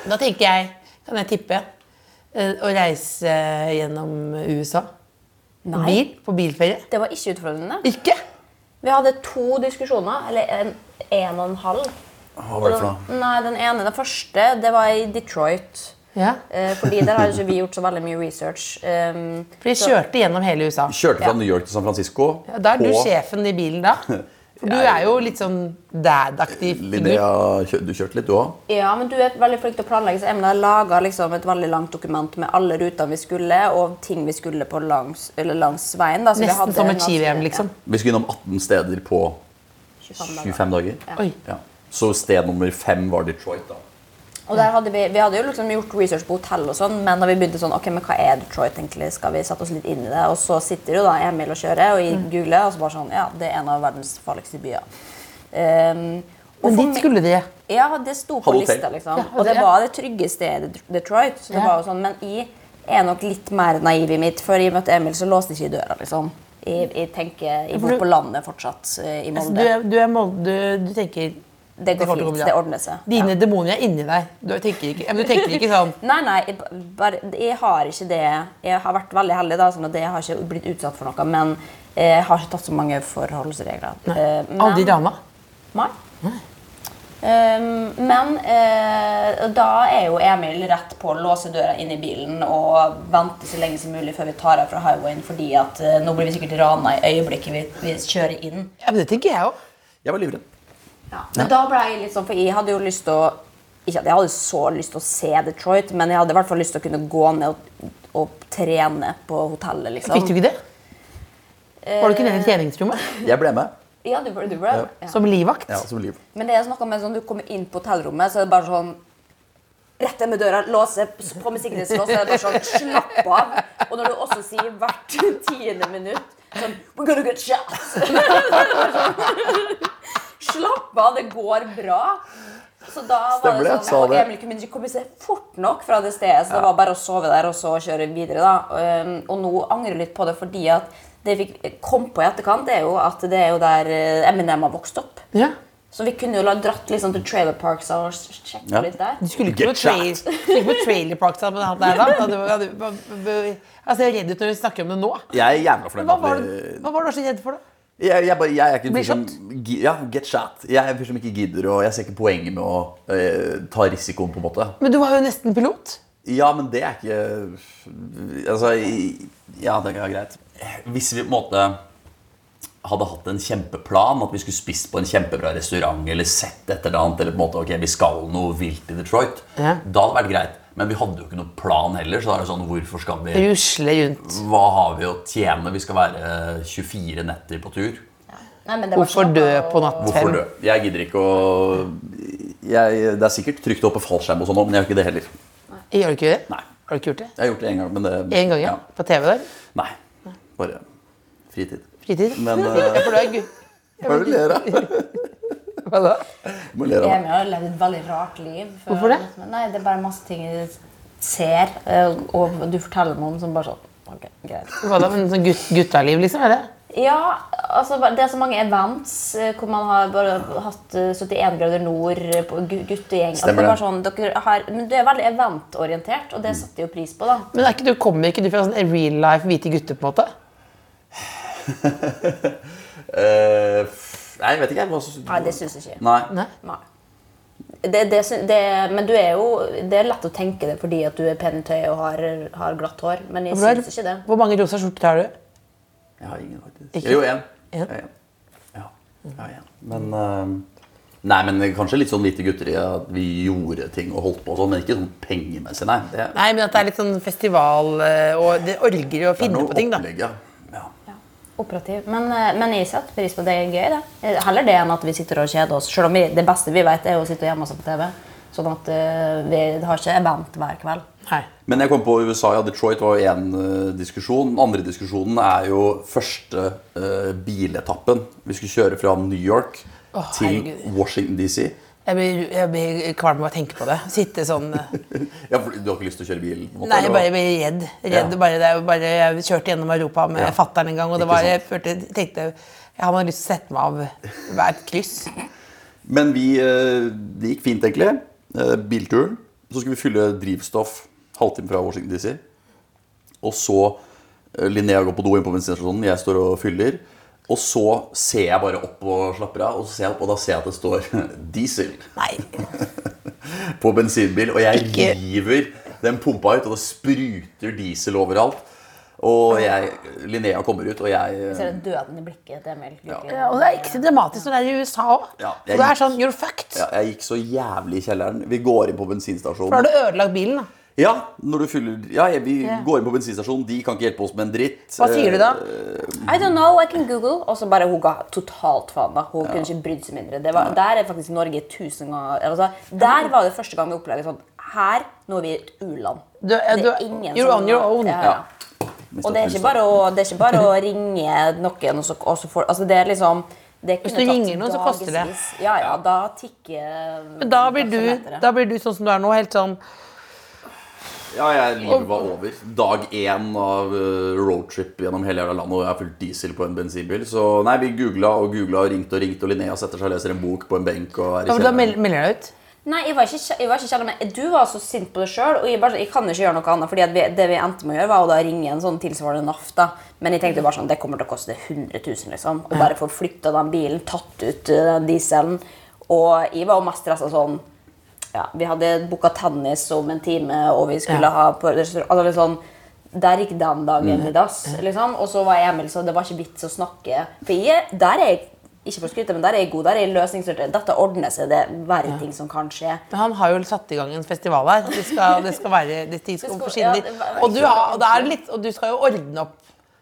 Speaker 3: Da tenker jeg, kan jeg tippe, eh, å reise gjennom USA.
Speaker 5: Nei.
Speaker 3: Bil, på bilferie.
Speaker 5: Det var ikke utfordrende.
Speaker 3: Ikke?
Speaker 5: Vi hadde to diskusjoner, eller en, en og en halv.
Speaker 6: Hva var det for noe?
Speaker 5: Nei, den ene, den første, det var i Detroit.
Speaker 3: Ja.
Speaker 5: Eh, fordi der har ikke vi gjort så veldig mye research. Um,
Speaker 3: For de kjørte gjennom hele USA.
Speaker 6: Kjørte fra
Speaker 5: Ja.
Speaker 6: New York til San Francisco.
Speaker 3: Ja, Da er du
Speaker 6: på-
Speaker 3: sjefen i bilen, da. For du
Speaker 6: Jeg-
Speaker 3: er jo litt sånn dad-aktig.
Speaker 6: Linnea, kjø- du kjørte litt, du òg?
Speaker 5: Ja, men du er veldig flink til å planlegge, så Emil har laga liksom et veldig langt dokument med alle rutene vi skulle, og ting vi skulle på langs, eller langs veien. Da, så vi
Speaker 3: Nesten
Speaker 5: hadde
Speaker 3: som
Speaker 5: en
Speaker 3: et ski-VM,
Speaker 5: ganske-
Speaker 3: liksom.
Speaker 6: Vi skulle innom 18 steder på
Speaker 5: Ja, 25 dager.
Speaker 6: 25 dager.
Speaker 3: Oi.
Speaker 6: Ja. Så sted nummer fem var Detroit, da.
Speaker 5: Og der hadde vi, vi hadde jo liksom gjort research på hotell, og sånn, men da vi begynte sånn, ok, men hva er Detroit egentlig, skal vi sette oss litt inn i det? Og så sitter jo da Emil og kjører, og jeg
Speaker 3: Mm.
Speaker 5: googler, og så bare sånn, ja, det er en av verdens farligste byer. Ehm, og
Speaker 3: Men
Speaker 5: for
Speaker 3: dit
Speaker 5: meg-
Speaker 3: skulle de.
Speaker 5: Ja, det sto på
Speaker 6: Hadde hotell.
Speaker 5: lista, liksom.
Speaker 3: Ja,
Speaker 5: og det
Speaker 3: ja.
Speaker 5: var det trygge stedet i Detroit. Så det
Speaker 3: Ja.
Speaker 5: var jo sånn, Men jeg er nok litt mer naiv i mitt, for i og med at Emil så låste ikke i døra, liksom. Jeg, jeg tenker,
Speaker 3: for
Speaker 5: jeg bor
Speaker 3: du-
Speaker 5: på landet fortsatt, eh, i
Speaker 3: Altså, du,
Speaker 5: Molde.
Speaker 3: er, du, er Molde, du, du tenker
Speaker 5: Det går
Speaker 3: kommer til å
Speaker 5: fint,
Speaker 3: gå bra.
Speaker 5: det ordner seg.
Speaker 3: Dine demoner er inni deg. Du tenker ikke, ja, men du tenker ikke sånn
Speaker 5: Nei, nei, jeg, ba- bare, jeg har ikke det Jeg har vært veldig heldig, da, sånn at jeg har ikke blitt utsatt for noe, men eh, jeg har ikke tatt så mange forholdsregler. Eh, men-
Speaker 3: Aldri rana.
Speaker 5: Nei. Ehm, men eh, da er jo Emil rett på å låse døra inn i bilen og vente så lenge som mulig før vi tar av fra highwayen, fordi at eh, nå blir vi sikkert rana i øyeblikket vi, vi kjører inn.
Speaker 3: Ja, men det tenker jeg òg.
Speaker 6: Jeg var livredd.
Speaker 5: Men da ble jeg litt sånn, for jeg hadde jo lyst til å ikke at jeg hadde så lyst til å se Detroit, men jeg hadde i hvert fall lyst til å kunne gå ned og, og trene på hotellet. liksom.
Speaker 3: Fikk du ikke det? Var du ikke nede i treningsrommet
Speaker 6: Jeg ble med.
Speaker 5: Ja, du, ble- du ble
Speaker 6: Ja.
Speaker 5: ja.
Speaker 3: som livvakt?
Speaker 6: Ja, som liv.
Speaker 5: Men det er noe med sånn, du kommer inn på hotellrommet, så er det bare sånn Rett ned med døra, låse, på med sikkerhetslås, så er det bare sånn Slapp av. Og når du også sier hvert tiende minutt sånn We're gonna get shot. Så er det bare sånn, Slapp av, det går bra. Så da var
Speaker 6: Stemmer det,
Speaker 5: det
Speaker 6: sa
Speaker 5: sånn, og
Speaker 6: det.
Speaker 5: Emil kunne ikke komme seg fort nok fra det stedet, så det var bare å sove der og så kjøre videre. da. Um, Og nå angrer jeg litt på det, fordi at det jeg fikk kom på i etterkant, det er jo at det er jo der eh, Eminem har vokst opp.
Speaker 3: Ja.
Speaker 5: Så vi kunne jo la dratt liksom til Trailer Parks og s- sjekke
Speaker 6: Ja.
Speaker 5: litt der.
Speaker 3: Du skulle ikke på,
Speaker 6: Get
Speaker 3: trail,
Speaker 6: shot.
Speaker 3: skulle ikke på trailer park sammen med han der, da? da? du- ja, du- hva- hva- Altså, Jeg ser redd ut når vi snakker om det nå.
Speaker 6: Jeg er jævla fornøyd
Speaker 3: Hva var
Speaker 6: med
Speaker 3: du,
Speaker 6: at vi-
Speaker 3: hva var du så redd for, da?
Speaker 6: Jeg, jeg, bare, jeg er ikke en
Speaker 3: Bli
Speaker 6: fyr som gi- Ja, get shot. Jeg er en fyr som ikke gidder, og jeg ser ikke poenget med å eh, ta risikoen, på en måte.
Speaker 3: Men du var jo nesten pilot.
Speaker 6: Ja, men det er ikke Altså, i- ja, det er greit. Hvis vi på en måte hadde hatt en kjempeplan, at vi skulle spist på en kjempebra restaurant eller sett et eller annet, eller på en måte, ok, vi skal noe vilt i Detroit,
Speaker 3: Ja.
Speaker 6: da hadde det vært greit. Men vi hadde jo ikke noen plan heller, så da er det sånn, hvorfor skal vi
Speaker 3: Rusle rundt.
Speaker 6: Hva har vi å tjene? Vi skal være 24 netter på tur.
Speaker 5: Nei, men det var
Speaker 3: Hvorfor
Speaker 5: ikke
Speaker 3: dø
Speaker 5: noe-
Speaker 3: på natthotell?
Speaker 6: Hvorfor dø? Jeg gidder ikke å jeg, Det er sikkert trygt å hoppe fallskjerm og sånn, men jeg gjør ikke det heller.
Speaker 3: Gjør du ikke det?
Speaker 6: Nei.
Speaker 3: Har du ikke gjort det?
Speaker 6: Jeg har gjort det én gang, men det
Speaker 3: En gang, ja. På TV der?
Speaker 6: Nei. Bare fritid.
Speaker 3: Fritid?
Speaker 6: Men, eh,
Speaker 3: ja, for du er gu-
Speaker 6: Hva er det du ler av?
Speaker 3: Hva da?
Speaker 6: Du må le av meg.
Speaker 5: Emil har levd et veldig rart liv. for-
Speaker 3: Hvorfor det?
Speaker 5: Nei, det er bare masse ting jeg ser, eh, og du forteller meg om som bare sånn Ok, greit.
Speaker 3: Hva da? Men sånn gutt, guttaliv, liksom? er det?
Speaker 5: Ja, altså det er så mange events eh, hvor man har bare hatt eh, 71 grader nord eh, på gu- guttegjeng.
Speaker 6: Stemmer
Speaker 5: Altså, det er
Speaker 6: det.
Speaker 5: bare sånn, dere har, men det er veldig eventorientert, og det setter jeg jo pris på. da.
Speaker 3: Men er ikke du, kommer ikke du fra sånn real life hvite gutter, på en måte?
Speaker 6: Eh, f- nei, jeg vet ikke. jeg, Hva så-
Speaker 5: Nei, det syns jeg ikke.
Speaker 6: Nei.
Speaker 3: Nei.
Speaker 5: Nei. Det, det, syn- det, men du er jo, det er lett å tenke det fordi at du er pen i tøyet og har, har glatt hår. Men jeg
Speaker 3: Hvor,
Speaker 5: syns ikke det.
Speaker 3: hvor mange rosa skjorter har du?
Speaker 6: Jeg har ingen, faktisk.
Speaker 3: Ikke?
Speaker 6: Jo, én.
Speaker 3: En?
Speaker 6: Ja, ja. Jeg har en. Men eh, Nei, men kanskje litt sånn hvite gutter i at vi gjorde ting og holdt på og sånn, men ikke sånn pengemessig, nei. Det,
Speaker 3: Nei, men at det er litt sånn festival eh, og det orger å
Speaker 6: det er
Speaker 3: finne på ting, da.
Speaker 6: opplegg, ja. ja.
Speaker 5: Operativ. Men, eh, men jeg setter pris på det. Det er gøy, det. Heller det enn at vi sitter og kjeder oss. Selv om vi, det beste vi vet, er å sitte hjemme og se på TV. Sånn at eh, vi har ikke event hver kveld.
Speaker 3: Nei.
Speaker 6: Men jeg kom på USA, ja, Detroit var jo én diskusjon. Den andre diskusjonen er jo første eh, biletappen. Vi skulle kjøre fra New York
Speaker 3: Å,
Speaker 6: til
Speaker 3: herregud.
Speaker 6: Washington DC.
Speaker 3: Jeg blir, jeg blir kvalm av å tenke på det. Sitte sånn eh,
Speaker 6: Ja, for du har ikke lyst til å kjøre bil? på en måte,
Speaker 3: Nei, jeg
Speaker 6: eller
Speaker 3: bare
Speaker 6: hva?
Speaker 3: blir redd. redd
Speaker 6: Ja.
Speaker 3: bare, det er jo bare, jeg kjørte gjennom Europa med
Speaker 6: Ja.
Speaker 3: fatteren en gang, og det
Speaker 6: Ikke
Speaker 3: var, jeg
Speaker 6: sant.
Speaker 3: følte, tenkte jeg hadde lyst til å sette meg av hvert kryss.
Speaker 6: Men vi, eh, det gikk fint, egentlig. Eh, Bilturen. Så skulle vi fylle drivstoff halvtime fra Washington DC. Og så eh, Linnea går på do inn på bensinstasjonen, jeg står og fyller. Og så ser jeg bare opp og slapper av, og så ser jeg opp, og da ser jeg at det står 'diesel'
Speaker 3: Nei.
Speaker 6: på bensinbil, og jeg
Speaker 3: Ikke-
Speaker 6: river den pumpa ut, og det spruter diesel overalt. Og jeg, Linnea kommer ut, og jeg
Speaker 5: Jeg ser det døden i blikket til Emil. Gukild.
Speaker 3: Ja, og det er ekstremt dramatisk når det er i USA òg.
Speaker 6: Ja,
Speaker 3: det
Speaker 6: jeg-
Speaker 3: er sånn You're fucked.
Speaker 6: ja, jeg gikk så jævlig i kjelleren. Vi går inn på
Speaker 3: For da har
Speaker 6: bensinstasjonen.
Speaker 3: du ødelagt bilen, da.
Speaker 6: Ja, når du fyller Ja, jeg- vi går inn på bensinstasjonen, de kan ikke hjelpe oss med en dritt.
Speaker 3: Hva sier du da?
Speaker 5: I don't know, I can google. Og så bare hun ga totalt faen. da. Hun kunne ikke brydd seg mindre. Det var, der er faktisk Norge tusen ganger altså, Der var det første gang vi opplevde sånn Her, nå er vi i et u-land.
Speaker 3: Du, ja,
Speaker 5: Det
Speaker 3: du,
Speaker 5: er ingen
Speaker 3: you're
Speaker 5: som-
Speaker 3: on your own.
Speaker 5: Ja, ja.
Speaker 6: Ja.
Speaker 5: Og det er ikke bare å, det er ikke bare å ringe noen og så, og så får Altså, det er liksom det
Speaker 3: Hvis
Speaker 5: kunne
Speaker 3: du
Speaker 5: tatt
Speaker 3: ringer noen, så koster det.
Speaker 5: dagevis. Ja, ja, da tikker
Speaker 3: Men da blir, du,
Speaker 5: taksameteret.
Speaker 3: da blir du sånn som du er nå, helt sånn
Speaker 6: Ja, jeg, livet var over. Dag én av eh, roadtrip gjennom hele jævla landet, og jeg har fullt diesel på en bensinbil. Så nei, vi googla og googla og ringte og ringte, og Linnea setter seg og leser en bok på en benk og er i
Speaker 3: Da, da
Speaker 6: kjelleren.
Speaker 3: mel- melder jeg deg ut.
Speaker 5: Nei, jeg var ikke, kje- jeg var ikke kjærlig med Du var så sint på deg sjøl, og jeg, bare, sånn, jeg kan ikke gjøre noe annet. Fordi at vi, det vi endte med å gjøre, var å da ringe en sånn tilsvarende NAF. da. Men jeg tenkte bare sånn, det kommer til å koste 100 000, liksom. Å bare få flytta den bilen, tatt ut eh, den dieselen. Og jeg var jo mest stressa sånn ja, Vi hadde booka tennis om en time, og vi skulle
Speaker 3: Ja. Mm.
Speaker 5: ha på restaurant altså, litt sånn, Der gikk den dagen i dass. liksom. Og så var jeg Emil, så det var ikke vits å snakke. For jeg, der er jeg ikke for å skryte, men der er jeg god. Der er jeg løsningsorientert. Dette ordner seg. Det er verre ting som kan skje.
Speaker 3: Men Han har jo satt i gang en festival her. Det skal, det skal være det ting skal
Speaker 5: Det skal-
Speaker 3: forsvinne
Speaker 5: ja,
Speaker 3: litt.
Speaker 5: det var-
Speaker 3: Og du, har, og da er det litt, og du skal jo ordne opp.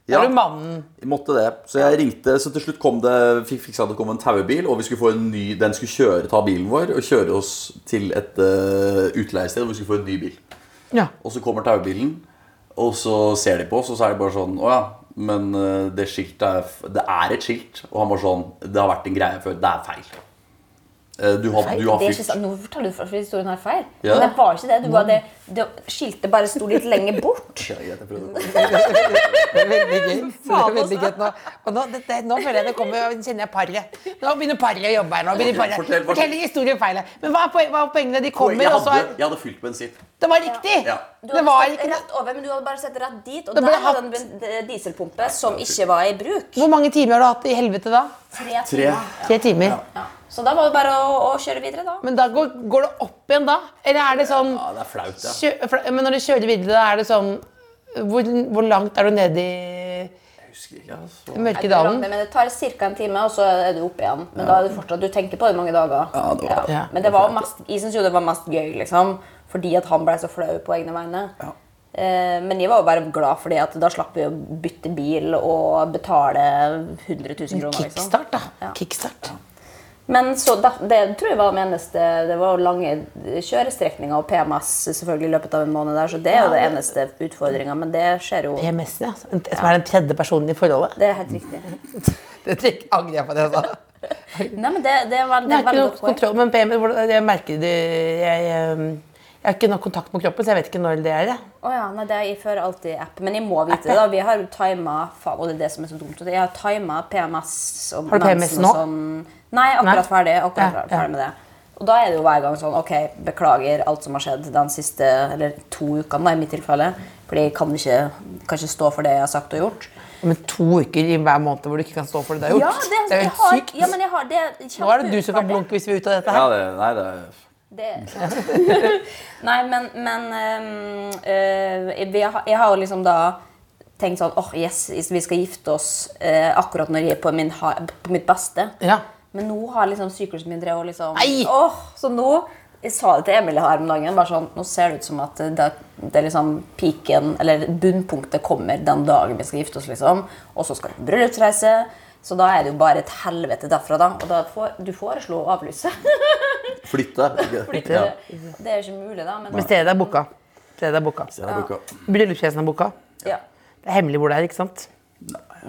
Speaker 3: Da
Speaker 6: Ja.
Speaker 3: er du mannen.
Speaker 6: Jeg måtte det. Så jeg ringte, så til slutt kom det, fikk fiksa det kom en taubil, og vi skulle få en ny, den skulle kjøre, ta bilen vår og kjøre oss til et eh, utleiested, og vi skulle få en ny bil.
Speaker 3: Ja.
Speaker 6: Og så kommer taubilen, og så ser de på oss, og så er det bare sånn, å ja, men eh, det skiltet er, f- det er et skilt, og han var sånn, det har vært en greie før, det er feil. Eh, Du har, du har
Speaker 5: det er ikke
Speaker 6: fylt.
Speaker 5: sant. Nå forteller du for- for historien her feil.
Speaker 6: Ja.
Speaker 5: Men det var ikke det. Du bare, det, det skiltet bare sto litt lenger bort.
Speaker 6: Ja, greit, jeg prøvde.
Speaker 3: Det er veldig gøy. Det er veldig gøy nå. Og nå, dette, nå føler jeg det kommer, nå kjenner jeg paret. Nå begynner paret å jobbe her. nå. Begynner paret.
Speaker 6: Fortell, fortell.
Speaker 3: Fortell historien feil. her. Men hva er poen- hva er poengene? De
Speaker 6: Jeg
Speaker 3: kommer, og så
Speaker 6: hadde,
Speaker 3: er
Speaker 6: jeg hadde fylt bensin.
Speaker 3: Det var riktig!
Speaker 6: Ja.
Speaker 5: Du
Speaker 3: Det
Speaker 5: hadde
Speaker 3: var
Speaker 5: sett
Speaker 3: ikke det.
Speaker 5: rett over, men du hadde bare sett rett dit. Og
Speaker 3: Det
Speaker 5: der
Speaker 3: ble
Speaker 5: var
Speaker 3: hatt.
Speaker 5: det en ben- dieselpumpe som ikke var i bruk.
Speaker 3: Hvor mange timer har du hatt i helvete da?
Speaker 5: Tre
Speaker 6: Tre.
Speaker 5: timer.
Speaker 3: Tre timer.
Speaker 5: Ja. Så da var det bare å, å kjøre videre, da.
Speaker 3: Men da går, går det opp igjen da? Eller er det sånn
Speaker 6: Ja, det er flaut, ja.
Speaker 3: kjø, for- Men når du kjører videre, da er det sånn Hvor, hvor langt er du nede i
Speaker 6: Jeg husker ikke, altså.
Speaker 3: mørke
Speaker 5: Men
Speaker 3: dalen?
Speaker 5: det tar ca. en time, og så er du oppe igjen. Men da er det fortsatt, du tenker på det i mange dager.
Speaker 6: Ja, det var-
Speaker 3: Ja.
Speaker 5: Men det var mest, jeg syns jo det var mest gøy, liksom. Fordi at han ble så flau på egne vegne.
Speaker 6: Ja.
Speaker 5: Eh, Men jeg var jo bare glad fordi at da slapp vi å bytte bil og betale 100 000 kroner. Liksom.
Speaker 3: Kickstart, da.
Speaker 5: Ja.
Speaker 3: Kickstart.
Speaker 5: Men så da, det tror jeg var det eneste Det var jo lange kjørestrekninger og PMS selvfølgelig i løpet av en måned der, så det er jo det eneste utfordringa. Men det skjer jo.
Speaker 3: PMS, ja. Som er den tredje personen i forholdet.
Speaker 5: Det er helt riktig.
Speaker 3: Det trekk- angrer jeg på det jeg sa.
Speaker 5: Nei, men det, det er veldig,
Speaker 3: Jeg har ikke
Speaker 5: veldig
Speaker 3: noe
Speaker 5: godt poeng.
Speaker 3: kontroll, men PMS, hvordan- jeg merker det jeg, eh, Jeg har ikke nok kontakt med kroppen, så jeg vet ikke når det er. jeg.
Speaker 5: Å ja, nei, det er, jeg fører alltid app, men jeg må vite det. da. Vi har jo tima faen, og det er det som er så dumt. Jeg har tima PMS og
Speaker 3: Har du PMS
Speaker 5: mensen
Speaker 3: nå?
Speaker 5: og Sånn. Nei, akkurat
Speaker 3: Nei?
Speaker 5: ferdig. akkurat
Speaker 3: Ja, ja.
Speaker 5: ferdig med det. Og da er det jo hver gang sånn OK, beklager alt som har skjedd den siste eller to ukene, da, i mitt tilfelle. Fordi jeg kan ikke, kan ikke stå for det jeg har sagt og gjort.
Speaker 3: Men to uker i hver måned hvor du ikke kan stå for det du har gjort.
Speaker 5: Ja, det er,
Speaker 3: jo
Speaker 5: altså, jeg
Speaker 3: helt
Speaker 5: har,
Speaker 3: sykt.
Speaker 5: ja, men jeg har, det er
Speaker 3: Nå er det du som kan
Speaker 5: kjempeurettferdig.
Speaker 3: blunke hvis vi er ute av dette
Speaker 6: Ja,
Speaker 3: her.
Speaker 6: det, nei, det er
Speaker 5: Det. Nei, men, men ehm, eh, vi har- jeg har jo liksom da tenkt sånn åh, yes, vi skal gifte oss eh, akkurat når jeg er på, min ha på mitt beste.
Speaker 3: Ja.
Speaker 5: Men nå har liksom syklusen min drevet og liksom
Speaker 3: Nei!
Speaker 5: Åh, Så nå Jeg sa det til Emil her om dagen. bare sånn, Nå ser det ut som at det, det er liksom piken, eller bunnpunktet kommer den dagen vi skal gifte oss. liksom. Og så skal vi på bryllupsreise. Så da er det jo bare et helvete derfra, da. Og da får, du foreslo å avlyse.
Speaker 6: Flytte.
Speaker 5: Flytte.
Speaker 6: Ja.
Speaker 5: Det er jo ikke mulig, da. Men,
Speaker 3: Men stedet er booka. Stedet er booka.
Speaker 6: Det er boka.
Speaker 3: Bryllupsfesten er booka.
Speaker 5: ja.
Speaker 3: Det er hemmelig hvor det er, ikke sant?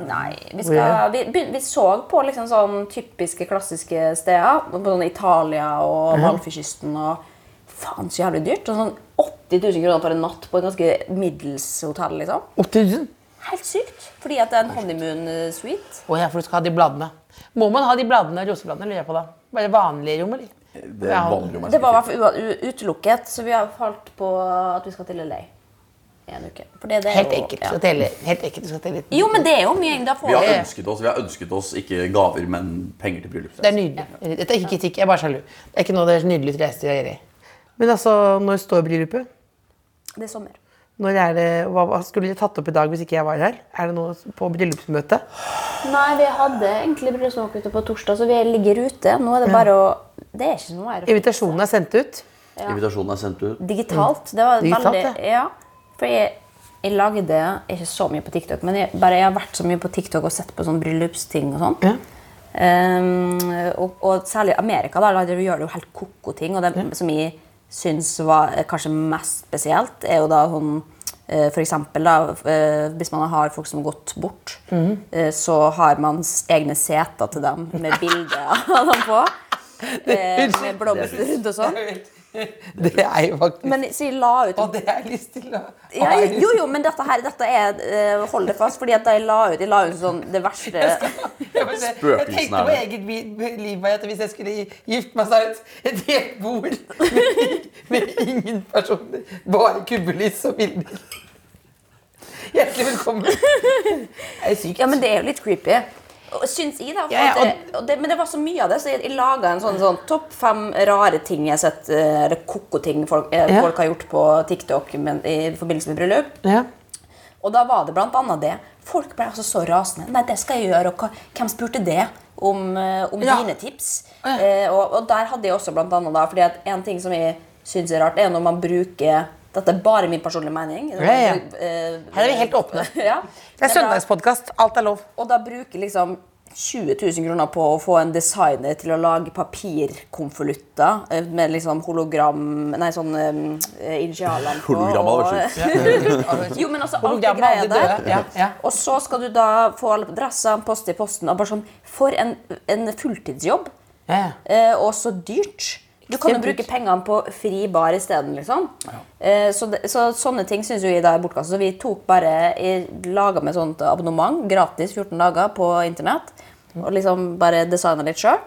Speaker 5: Nei, vi, skal, vi, begyn- vi så på liksom sånn typiske, klassiske steder. På sånn Italia og Malfykysten og Faen, så jævlig dyrt. Og sånn 80 000 kroner for en natt på et ganske middels hotell. liksom.
Speaker 3: 8000?
Speaker 5: Helt sykt. Fordi at det er en honeymoon eh, suite.
Speaker 3: Å ja, for du skal ha de bladene. Må man ha de bladene, rosebladene, lurer jeg på da? Bare vanlige rom, eller?
Speaker 6: Det er vanlig om jeg
Speaker 5: Det var i
Speaker 6: skal
Speaker 5: hvert fall ua- u- utelukket, så vi har falt på at vi skal til LA i en uke. For det, det er
Speaker 3: Helt
Speaker 5: jo-
Speaker 3: enkelt.
Speaker 5: Ja.
Speaker 3: Du skal telle- Helt enkelt, du skal telle litt.
Speaker 5: Jo, men det er jo mye. Da får
Speaker 6: vi har,
Speaker 5: vi
Speaker 6: ønsket oss, vi har ønsket oss ikke gaver, men penger til
Speaker 3: Det er
Speaker 6: bryllupsreise.
Speaker 3: nydelig. Dette er ikke kritikk, jeg er bare sjalu. Det er ikke noe deres nydelige reiser jeg gjør i. Men altså, når står bryllupet?
Speaker 5: Det er sommer.
Speaker 3: Når er det, hva, hva skulle dere tatt opp i dag hvis ikke jeg var her? Er det noe på bryllupsmøtet?
Speaker 5: Nei, vi hadde egentlig bryllupsnok ute på torsdag, så vi ligger ute. Nå er det bare å Det er ikke noe her.
Speaker 3: Invitasjonen er sendt ut.
Speaker 6: Invitasjonen er sendt ut.
Speaker 5: Digitalt. Det var
Speaker 3: Digitalt,
Speaker 5: veldig Ja. For jeg, jeg lagde ikke så mye på TikTok, men jeg, bare jeg har vært så mye på TikTok og sett på sånn bryllupsting og sånn.
Speaker 3: Ja.
Speaker 5: Ehm, og, og særlig i Amerika, da, der gjør det jo helt koko ting. Og det som jeg syns var eh, kanskje mest spesielt, er jo da sånn eh, for eksempel, da, eh, hvis man har folk som har gått bort,
Speaker 3: Mhm.
Speaker 5: eh, så har man s- egne seter til dem med bilde av dem på. eh, Med blomster rundt og sånn.
Speaker 3: Det er jo faktisk
Speaker 5: Men så jeg la ut
Speaker 3: Og det har jeg lyst til å
Speaker 5: ja, jeg- Jo, jo, men dette her dette er eh, Hold det fast, fordi at jeg la ut, jeg la ut sånn det verste
Speaker 3: Eh, Jeg bare- jeg
Speaker 6: Spøkelsen
Speaker 3: tenkte
Speaker 6: er
Speaker 3: på
Speaker 6: det.
Speaker 3: eget vi- liv bare at hvis jeg skulle gifte meg, så er det et et helt bord med, med ingen personer. Bare kubbelys og bilder. Hjertelig velkommen. Er det sykt?
Speaker 5: Ja, men det er jo litt creepy. Og Syns jeg, da. For
Speaker 3: Ja, ja,
Speaker 5: at det, og det, men det var så mye av det, så jeg, jeg laga en sånn, sånn topp fem rare ting jeg har sett, eh, eller koko-ting folk, eh,
Speaker 3: Ja.
Speaker 5: folk har gjort på TikTok men, i forbindelse med bryllup.
Speaker 3: Ja.
Speaker 5: Og da var det blant annet det. Folk ble altså så rasende. Nei, det skal jeg gjøre, og hva- hvem spurte det? Om, eh, om
Speaker 3: Ja.
Speaker 5: dine tips. Eh, og, og der hadde jeg også blant annet da, fordi at en ting som jeg syns er rart, er når man bruker Dette er bare min personlige mening. Eh,
Speaker 3: ja. Her er vi helt åpne.
Speaker 5: ja.
Speaker 3: Det er
Speaker 5: Men da-
Speaker 3: søndagspodkast. Alt er lov.
Speaker 5: og da bruker liksom 20 000 kroner på å få en designer til å lage papirkonvolutter eh, med liksom hologram Nei, sånn um, initialene på.
Speaker 6: Hologram hadde vært
Speaker 5: og- Jo, men altså, alt det
Speaker 3: Hologrammet
Speaker 5: greia
Speaker 3: hadde
Speaker 5: der.
Speaker 3: døde. Ja, ja.
Speaker 5: Og så skal du da få alle dressene, poste i posten og bare sånn For en, en fulltidsjobb.
Speaker 3: Ja.
Speaker 5: Eh, og så dyrt. Du kan jo
Speaker 3: Ekstremt dyrt.
Speaker 5: bruke pengene på fri bar isteden. Liksom. Eh, så, det- så sånne ting syns vi da er bortkastet. Så vi tok bare laga med sånt abonnement gratis 14 dager på internett.
Speaker 6: Mm.
Speaker 5: Og liksom bare designa litt sjøl.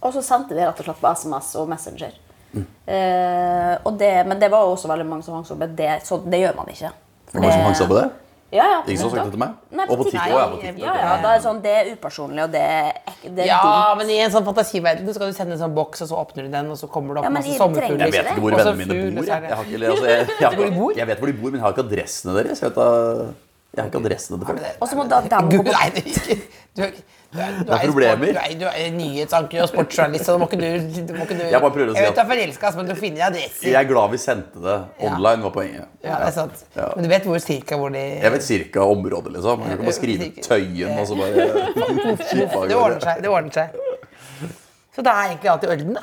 Speaker 5: Og så sendte vi rett og slett på SMS og Messenger.
Speaker 6: Mm.
Speaker 5: Eh, og det, men det var jo også veldig mange som hang seg opp i det, så det gjør man ikke.
Speaker 6: Var det noen som hang seg på det?
Speaker 5: Ja, ja,
Speaker 6: Ingen som har sagt det til meg?
Speaker 5: Nei,
Speaker 6: Og på TikTok, ja, på TikTok,
Speaker 5: Ja, ja, da er det sånn, det er upersonlig, og det er, ek- det er
Speaker 3: Ja,
Speaker 5: dumt.
Speaker 3: men i en sånn fantasiverden så skal du sende en sånn boks, og så åpner du den, og så kommer det opp
Speaker 5: Ja, men
Speaker 3: masse
Speaker 5: i-
Speaker 3: sommerfugler.
Speaker 5: trenger
Speaker 6: Jeg vet ikke hvor
Speaker 3: Og så
Speaker 6: vennene mine
Speaker 3: fugler,
Speaker 6: bor.
Speaker 3: så er Altså, det-
Speaker 6: Jeg, jeg, har ikke, eller, altså, jeg, jeg, har
Speaker 3: Hvor de bor?
Speaker 6: ikke- jeg vet hvor de bor, men jeg har ikke adressene deres. Jeg, vet, da- jeg har ikke adressene deres.
Speaker 5: Og så må da dem gå
Speaker 3: Gud,
Speaker 5: på
Speaker 3: nei, det er ikke du er, du er, du
Speaker 6: Det er problemer.
Speaker 3: sport- Du er, du er nyhetsanker og sportsjournalist, så det må ikke du, det må ikke du
Speaker 6: Jeg bare prøver å si
Speaker 3: vet
Speaker 6: at-
Speaker 3: du er forelska, men du finner adresser.
Speaker 6: Jeg er glad vi sendte det online, var poenget.
Speaker 3: Ja, det er sant.
Speaker 6: Ja.
Speaker 3: Men du vet hvor cirka hvor de
Speaker 6: Jeg vet cirka området, liksom. Jeg kan bare skrive Tøyen og så bare skipe av
Speaker 3: Det ordner
Speaker 6: gårde.
Speaker 3: seg. det ordner seg. Så det er egentlig alt i orden, da.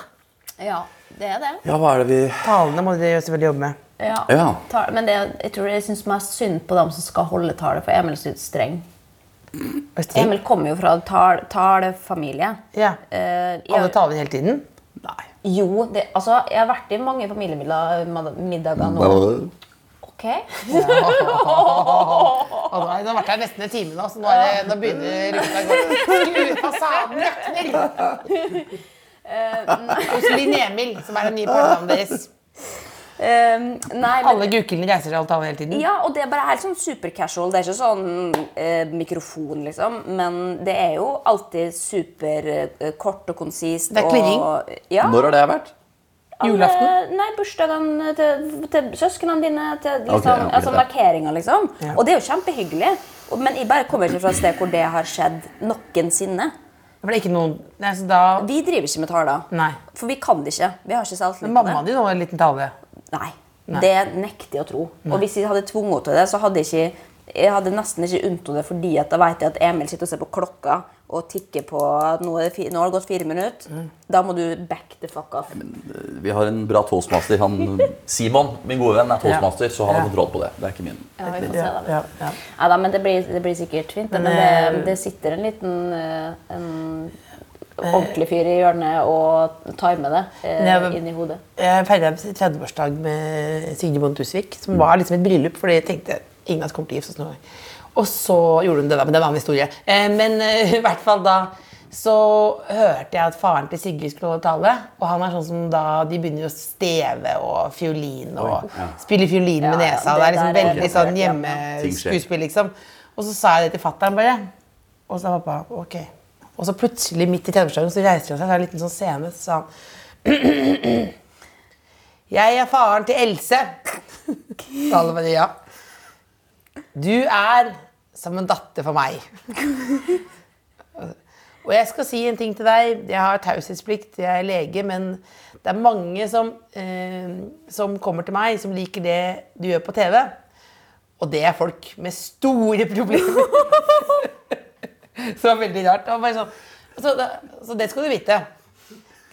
Speaker 5: Ja, det er det.
Speaker 6: Ja, hva er det vi
Speaker 3: Talene må dere jo selvfølgelig jobbe med.
Speaker 5: Ja.
Speaker 6: Ja.
Speaker 5: Ta- Men det, jeg tror jeg synes mest synd på dem som skal holde tale, for Emil synes streng.
Speaker 3: Og
Speaker 6: Hm?
Speaker 3: streng.
Speaker 5: Emil kommer jo fra tal, talefamilie.
Speaker 3: Ja.
Speaker 5: Eh, jeg-
Speaker 3: Alle taler hele tiden?
Speaker 6: Nei.
Speaker 5: Jo, det, altså, jeg har vært i mange familiemiddager nå. Ok.
Speaker 3: Å, nå har jeg vært her nesten en time nå, så nå, er det, nå begynner ruta å gå. Skru fasaden rakner! Hos Linn Emil, som er den nye partneren deres.
Speaker 5: Ehm, nei, men-
Speaker 3: Alle gukillene reiser seg og taler hele tiden.
Speaker 5: Ja, og det er bare helt sånn super casual. Det er ikke sånn eh, mikrofon, liksom. Men det er jo alltid super eh, kort og konsist.
Speaker 3: Det er klirring.
Speaker 5: og- Ja,
Speaker 6: Når har det vært?
Speaker 5: alle-
Speaker 3: Julaften?
Speaker 5: Nei, bursdagen til, til søsknene dine. Til liksom,
Speaker 6: Ok, ja, ok,
Speaker 5: altså
Speaker 6: ja.
Speaker 5: markeringer, liksom. Og det er jo kjempehyggelig. Og- Men jeg bare kommer ikke fra et sted hvor det har skjedd noensinne.
Speaker 3: For det er ikke noen Nei, så da
Speaker 5: Vi driver ikke med taler.
Speaker 3: Nei.
Speaker 5: For vi kan det ikke. Vi har ikke selvtillit på det.
Speaker 3: Mammaen din var en liten tale.
Speaker 5: Nei. Det nekter jeg å tro. Og hvis jeg hadde tvunget henne til det, så hadde jeg ikke jeg hadde nesten ikke unnt henne det, fordi at da vet jeg at Emil sitter og ser på klokka og tikker på at nå, er det fi, nå har det gått fire minutter. Da må du back the fuck off.
Speaker 6: Vi har en bra toastmaster. Han, Simon, min gode venn, er toastmaster, så han har
Speaker 3: Ja.
Speaker 6: kontroll på det. Det er ikke min.
Speaker 5: Ja, vi får se,
Speaker 3: Ja,
Speaker 5: da.
Speaker 3: ja, ja.
Speaker 5: Ja, da, men det blir, det blir sikkert fint. Men, men det, det sitter en liten eh, en ordentlig fyr i hjørnet og timer det
Speaker 3: Nei,
Speaker 5: eh,
Speaker 3: men-
Speaker 5: inn i hodet.
Speaker 3: Jeg feira 30-årsdag med Signe Bonde Tusvik, som var liksom et bryllup, fordi jeg tenkte ingen av oss kommer til å gifte oss noen gang. Og så gjorde hun det, da, men det var en annen historie. Eh, Men eh, i hvert fall da så hørte jeg at faren til Sigrid skulle holde tale. Og han er sånn som da de begynner å steve og fiolin og spille fiolin med
Speaker 5: Ja, ja,
Speaker 3: nesa. og Det er
Speaker 5: det
Speaker 3: liksom
Speaker 5: der er
Speaker 3: veldig sånn
Speaker 5: helt-
Speaker 6: Ting skjer.
Speaker 3: hjemmeskuespill, liksom. Og så sa jeg det til fatter'n bare. Og så sa pappa ok. Og så plutselig, midt i 30-årsdagen, så reiser han seg, så er det en liten sånn scene, så sa han jeg er faren til Else. Og alle bare ja. Du er som en datter for meg. Og jeg skal si en ting til deg. Jeg har taushetsplikt, jeg er lege, men det er mange som, eh, som kommer til meg, som liker det du gjør på TV. Og det er folk med store problemer. Så det var veldig rart. Det var bare sånn, så, det, så det skal du vite.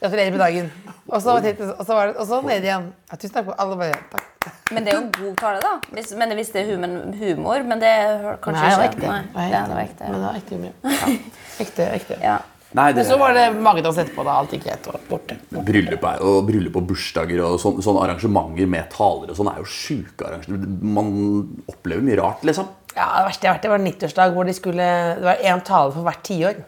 Speaker 3: Gratulerer med dagen. Og så, og så, var det, og så ned igjen. Ja, tusen takk. Alle bare takk.
Speaker 5: Men det er jo en god tale, da. Hvis, men hvis det er humen- humor. Men det er kanskje
Speaker 3: det var
Speaker 5: ikke.
Speaker 3: ekte.
Speaker 5: Nei,
Speaker 3: Nei,
Speaker 5: det var ekte.
Speaker 3: Men det var ekte humor. Ja. Ekte, ekte.
Speaker 5: Ja.
Speaker 6: Nei, det,
Speaker 3: Men så var det magedans etterpå, da alt gikk greit og borte.
Speaker 6: Bryllup, er, og bryllup og bursdager og sånn- sånne arrangementer med talere og sånn er jo sjuke arrangementer. Man opplever mye rart, liksom.
Speaker 3: Ja, Det verste jeg har vært i, var en 90-årsdag hvor de skulle, det var én tale for hvert tiår.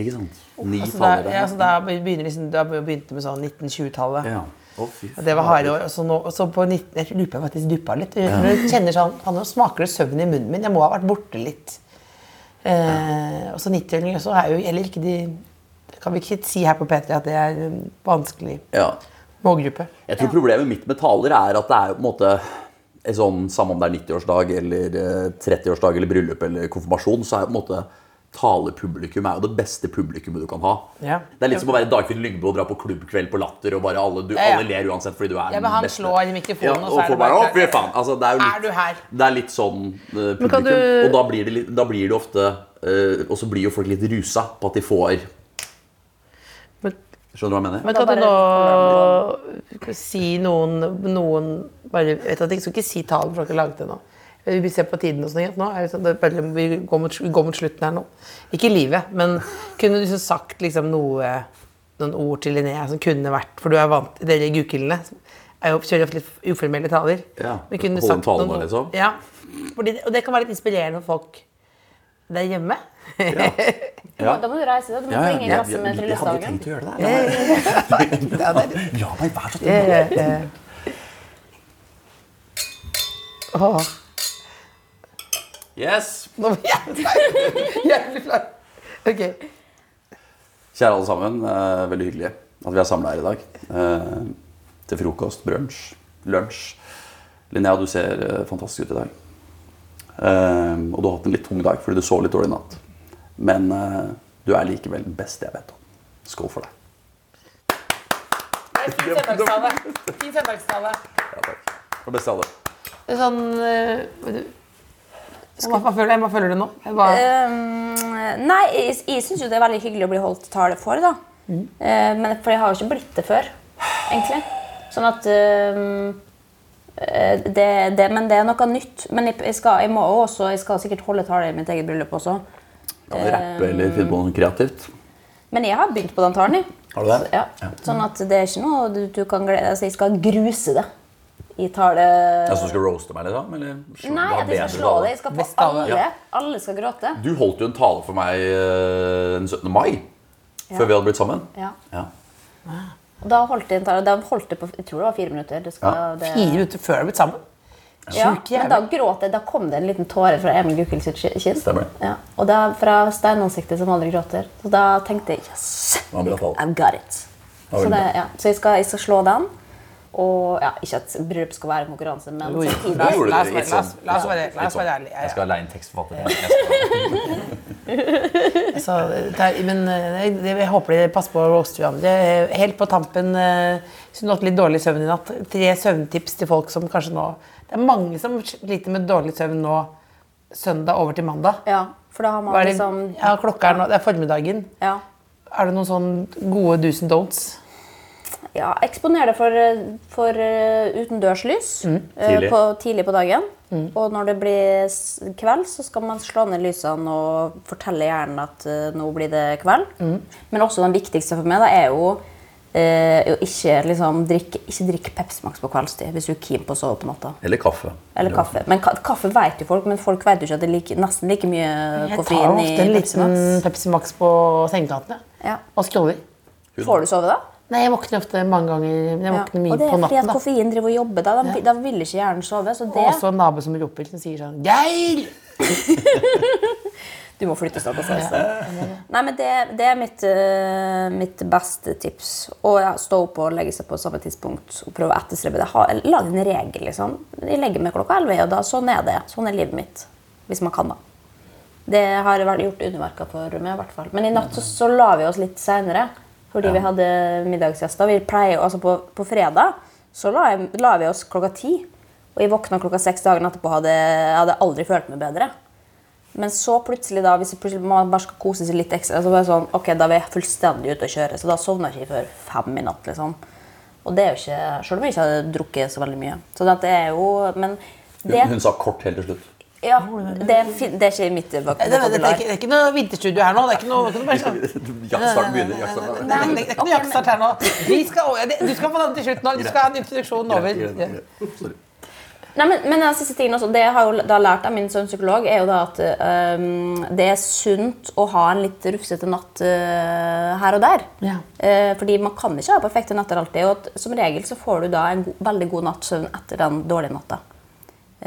Speaker 6: Ikke sant? Ni
Speaker 3: Altså, da,
Speaker 6: talere.
Speaker 3: ja, så da, begynner liksom, da begynte det med sånn 1920-tallet.
Speaker 6: Ja. Å, fy
Speaker 3: Og Det var harde år. Og så, nå, og så på 19, jeg lurer på om jeg faktisk duppa litt. Når du kjenner sånn, faen, Nå smaker det søvn i munnen min. Jeg må ha vært borte litt. Eh, og så 90-åringer så er jo heller ikke de det kan vi ikke si her på P3 at det er en vanskelig
Speaker 6: Ja.
Speaker 3: målgruppe.
Speaker 6: Jeg tror problemet mitt med taler er at det er jo på en måte en sånn, Samme om det er 90-årsdag eller eh, 30-årsdag eller bryllup eller konfirmasjon, så er jo på en måte talepublikum er jo det beste publikummet du kan ha.
Speaker 3: Ja.
Speaker 6: Det er litt som å være Dagfinn Lyngbø og dra på klubbkveld på Latter, og bare alle, du,
Speaker 3: ja.
Speaker 6: alle ler uansett fordi du er
Speaker 3: Ja, men
Speaker 6: den
Speaker 3: han
Speaker 6: beste.
Speaker 3: slår i mikrofonen, og
Speaker 6: ja,
Speaker 3: så er det
Speaker 6: bare,
Speaker 3: bare-
Speaker 6: Å, fy faen! Altså, det er, jo litt,
Speaker 3: Er du her?
Speaker 6: Det er litt sånn eh,
Speaker 3: kan
Speaker 6: publikum.
Speaker 3: du-
Speaker 6: Og da blir, det, litt- da blir det ofte eh, Og så blir jo folk litt rusa på at de får
Speaker 3: Men,
Speaker 6: Skjønner du hva jeg mener?
Speaker 3: men kan du nå si noen, noen bare, jeg vet at Jeg skal ikke si talen, for dere har laget det nå. Vi ser på tiden og sånn. ikke sant? Nå er det sånn, det er bare, vi, går mot, vi går mot slutten her nå. Ikke livet, men kunne du liksom sagt liksom noe, noen ord til Linnea som kunne vært For du er vant dere gukkillene er jo kjører ofte litt uformelle taler.
Speaker 6: Ja,
Speaker 3: Men kunne du
Speaker 6: holde en
Speaker 3: sagt
Speaker 6: tale
Speaker 3: noen
Speaker 6: nå, liksom.
Speaker 3: Ja, fordi, det- Og det kan være litt inspirerende for folk der hjemme.
Speaker 6: Ja.
Speaker 5: Da må du reise deg. Du må
Speaker 6: Ja, ja,
Speaker 5: ringe en
Speaker 6: jeg-
Speaker 5: klasse med
Speaker 6: jeg- jeg hadde jo
Speaker 5: tryllestagen.
Speaker 6: tenkt å gjøre det der. La meg være så tydelig.
Speaker 3: Eh, eh. Åh.
Speaker 6: Yes!
Speaker 3: Nå blir jeg flau. Jævlig flau. Ok.
Speaker 6: Kjære alle sammen, eh, veldig hyggelig at vi er samla her i dag. Eh, til frokost, brunsj, lunsj. Linnea, du ser eh, fantastisk ut i dag. Eh, og du har hatt en litt tung dag fordi du sov litt dårlig i natt. Men eh, du er likevel den beste jeg vet om. Skål for deg.
Speaker 3: Fin søndagstale. Fin søndagstale.
Speaker 6: Ja, takk. For beste av alle.
Speaker 3: Det er sånn eh, hva, hva, føler jeg, hva føler du nå? Jeg bare,
Speaker 5: Ehm, nei, jeg, jeg syns jo det er veldig hyggelig å bli holdt tale for, da.
Speaker 6: Mm.
Speaker 5: Eh, men, for jeg har jo ikke blitt det før, egentlig. Sånn at ehm, eh, det, det, Men det er noe nytt. Men jeg, jeg, skal, jeg må jo også, jeg skal sikkert holde tale i mitt eget bryllup også.
Speaker 6: Kan du rappe eller finne på noe kreativt?
Speaker 5: Men jeg har begynt på den talen, jeg.
Speaker 6: Har du det?
Speaker 5: Ja. Sånn at det er ikke noe du, du kan glede deg altså, Jeg skal gruse det i tale...
Speaker 6: Altså, du skal roaste meg, liksom? Eller slå-
Speaker 5: Nei,
Speaker 6: du har
Speaker 5: at jeg
Speaker 6: bedre
Speaker 5: skal slå
Speaker 6: tale.
Speaker 5: det. Jeg skal få
Speaker 3: Best av det.
Speaker 5: alle. Alle skal gråte.
Speaker 6: Du holdt jo en tale for meg eh, den 17. mai, før vi hadde blitt sammen.
Speaker 5: Ja.
Speaker 6: Ja.
Speaker 5: Og Da holdt jeg en tale. Da holdt jeg på Jeg tror det var fire minutter. Det skal,
Speaker 6: Ja.
Speaker 5: det,
Speaker 3: Fire minutter før du har blitt sammen?
Speaker 5: ja,
Speaker 3: Sjuk
Speaker 5: men
Speaker 3: jævel.
Speaker 5: da gråt jeg. Da kom det en liten tåre fra Emil Gukild sitt ki- kinn.
Speaker 6: Stemmer.
Speaker 5: Ja. Og det er fra steinansiktet som aldri gråter. Så da tenkte jeg yes,
Speaker 6: Det var en bra tale.
Speaker 5: I've got it.
Speaker 6: var
Speaker 5: Så,
Speaker 6: veldig
Speaker 5: det,
Speaker 6: bra.
Speaker 5: ja. så jeg, skal, jeg skal slå den. Og ja, Ikke at bryllup skal være en konkurranse, men
Speaker 3: Jo, jo.
Speaker 5: samtidig
Speaker 3: La oss-
Speaker 6: Du gjorde
Speaker 3: la oss
Speaker 6: det
Speaker 3: være-
Speaker 6: litt
Speaker 3: la oss-
Speaker 6: sånn.
Speaker 3: la oss være- la oss
Speaker 6: Litt
Speaker 3: være
Speaker 6: sånn.
Speaker 3: ærlige, ja,
Speaker 6: Jeg skal leie en tekstforfatter.
Speaker 3: Så det er, men eh, det, jeg håper de passer på å roaste hverandre. Helt på tampen eh, Hvis hun har hatt litt dårlig søvn i natt, tre søvntips til folk som kanskje nå Det er mange som sliter med dårlig søvn nå søndag over til mandag.
Speaker 5: Ja, for da har
Speaker 3: Hva
Speaker 5: man
Speaker 3: er det,
Speaker 5: liksom
Speaker 3: ja, klokka er nå, det er formiddagen.
Speaker 5: ja.
Speaker 3: Er det noen sånn gode do's and don'ts?
Speaker 5: ja, Eksponer det for, eh, for eh, utendørslys
Speaker 3: Mm.
Speaker 5: eh,
Speaker 6: Tidlig.
Speaker 5: På, tidlig på dagen. Og når det blir s- kveld, så skal man slå ned lysene og fortelle hjernen at eh, nå blir det kveld.
Speaker 3: Mm.
Speaker 5: Men også den viktigste for meg da, er jo eh, å ikke liksom, drikke ikke drikk Pepsi Max på kveldstid hvis du er keen på å sove på natta.
Speaker 6: Eller kaffe.
Speaker 5: Eller kaffe. Men ka kaffe vet jo folk, men folk vet jo ikke at det er like, nesten like mye
Speaker 3: Jeg tar
Speaker 5: koffein i
Speaker 3: ofte en
Speaker 5: Pepsi
Speaker 3: liten
Speaker 5: Max.
Speaker 3: Pepsi Max på sengekanten jeg.
Speaker 5: Ja.
Speaker 3: og scroller.
Speaker 5: Får du sove da?
Speaker 3: Nei, jeg våkner ofte mange ganger. men Jeg
Speaker 5: Ja.
Speaker 3: våkner
Speaker 5: Og det
Speaker 3: mye
Speaker 5: er
Speaker 3: på
Speaker 5: fordi at
Speaker 3: natten. da.
Speaker 5: koffein driver og jobber da. Da, da vil ikke hjernen sove. Så
Speaker 3: Og
Speaker 5: det
Speaker 3: også en nabo som roper som sier sånn Geir!
Speaker 5: Du må flytte snart og se Nei, men det, det er mitt, øh, mitt beste tips. Å ja, stå opp og legge seg på samme tidspunkt og prøve å etterstrebe det. Ha, lag en regel, liksom. Jeg legger meg klokka 11, og da sånn er det. Sånn er livet mitt. Hvis man kan, da. Det har vært gjort underverker for meg, i hvert fall. Men i natt så, så la vi oss litt seinere, fordi vi hadde middagsgjester. Vi pleier, altså på, på fredag så la, jeg, la vi oss klokka ti. Og jeg våkna klokka seks dagen etterpå og hadde, jeg hadde aldri følt meg bedre. Men så plutselig da, hvis jeg plutselig man bare skal kose seg litt ekstra, så bare sånn, ok, da er jeg fullstendig ute å kjøre, så da sovner jeg ikke før fem i natt, liksom. Og det er jo ikke, selv om jeg ikke hadde drukket så veldig mye. Så det at det er jo, men det,
Speaker 6: Hun, hun sa kort helt til slutt.
Speaker 5: ja, det, er fin- det er ikke i mitt
Speaker 3: Det, det, det, er ikke,
Speaker 5: vokabular.
Speaker 3: det er ikke noe vinterstudio her nå. Det er ikke noe, det er ikke noe bare sånn
Speaker 6: Jaktstarten begynner. jaktstarten
Speaker 3: Nei,
Speaker 6: begynner.
Speaker 3: men det er ikke noe jaktstart her nå. Vi skal, over- det- du skal få den til slutt nå. Du skal ha en introduksjon over.
Speaker 6: Greit, greit, greit. Sorry.
Speaker 5: Nei, men, men den siste tingen også, det jeg har jo da lært av min sønns psykolog, er jo da at øhm, det er sunt å ha en litt rufsete natt øh, her og der.
Speaker 3: Ja.
Speaker 5: Eh, fordi man kan ikke ha perfekte netter alltid, og at, som regel så får du da en go veldig god natts søvn etter den dårlige natta.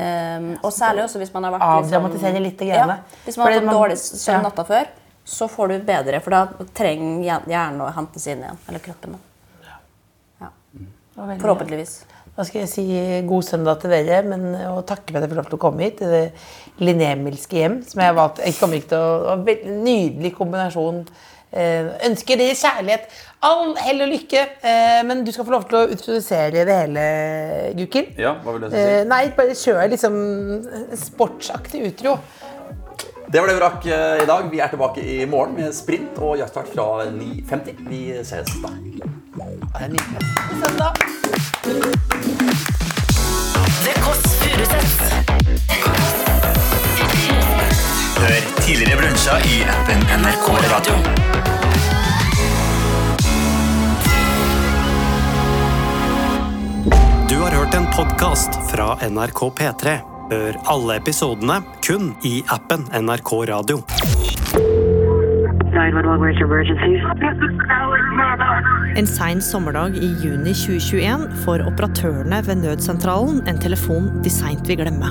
Speaker 5: Ehm, og særlig også hvis man har vært liksom-
Speaker 3: Avdramatisere litt det greiene.
Speaker 5: Ja, hvis man har
Speaker 3: Fordi
Speaker 5: fått
Speaker 3: man-
Speaker 5: dårlig søvn
Speaker 3: ja.
Speaker 5: natta før, så får du bedre, for da trenger hjer- hjernen å hentes inn igjen, eller kroppen. da. Ja. Forhåpentligvis.
Speaker 3: Da skal jeg si god søndag til dere, men, og takke for at jeg får lov til å komme hit. Til det linemilske hjem, som jeg valgte. Jeg kommer ikke til å, det var en veldig nydelig kombinasjon. Eh, ønsker dere kjærlighet, all hell og lykke. Eh, men du skal få lov til å introdusere det hele, Gukild.
Speaker 6: Ja, hva vil du si?
Speaker 3: Eh, nei, bare kjør liksom sportsaktig utro.
Speaker 6: Det var det vi rakk eh, i dag. Vi er tilbake i morgen med sprint og jaktstart fra 9.50. Vi ses da.
Speaker 3: Søndag.
Speaker 2: Det Kåss Furuseths.
Speaker 8: Hør tidligere brunsja i appen NRK Radio.
Speaker 1: Du har hørt en podkast fra NRK P3. Hør alle episodene kun i appen NRK Radio.
Speaker 9: 911, where's your emergency?
Speaker 10: En sein sommerdag i juni 2021 får operatørene ved nødsentralen en telefon de seint vil glemme.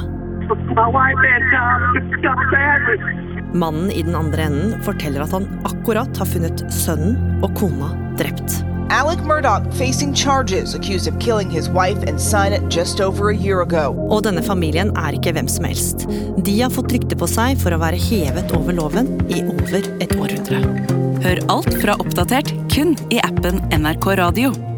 Speaker 9: My wife and um, got bad.
Speaker 10: Mannen i den andre enden forteller at han akkurat har funnet sønnen og kona drept.
Speaker 9: Alec Murdoch facing charges accused of killing his wife and son just over a year ago.
Speaker 10: Og denne familien er ikke hvem som helst. De har fått rykte på seg for å være hevet over loven i over et århundre.
Speaker 2: Hør alt fra oppdatert kun i appen NRK Radio.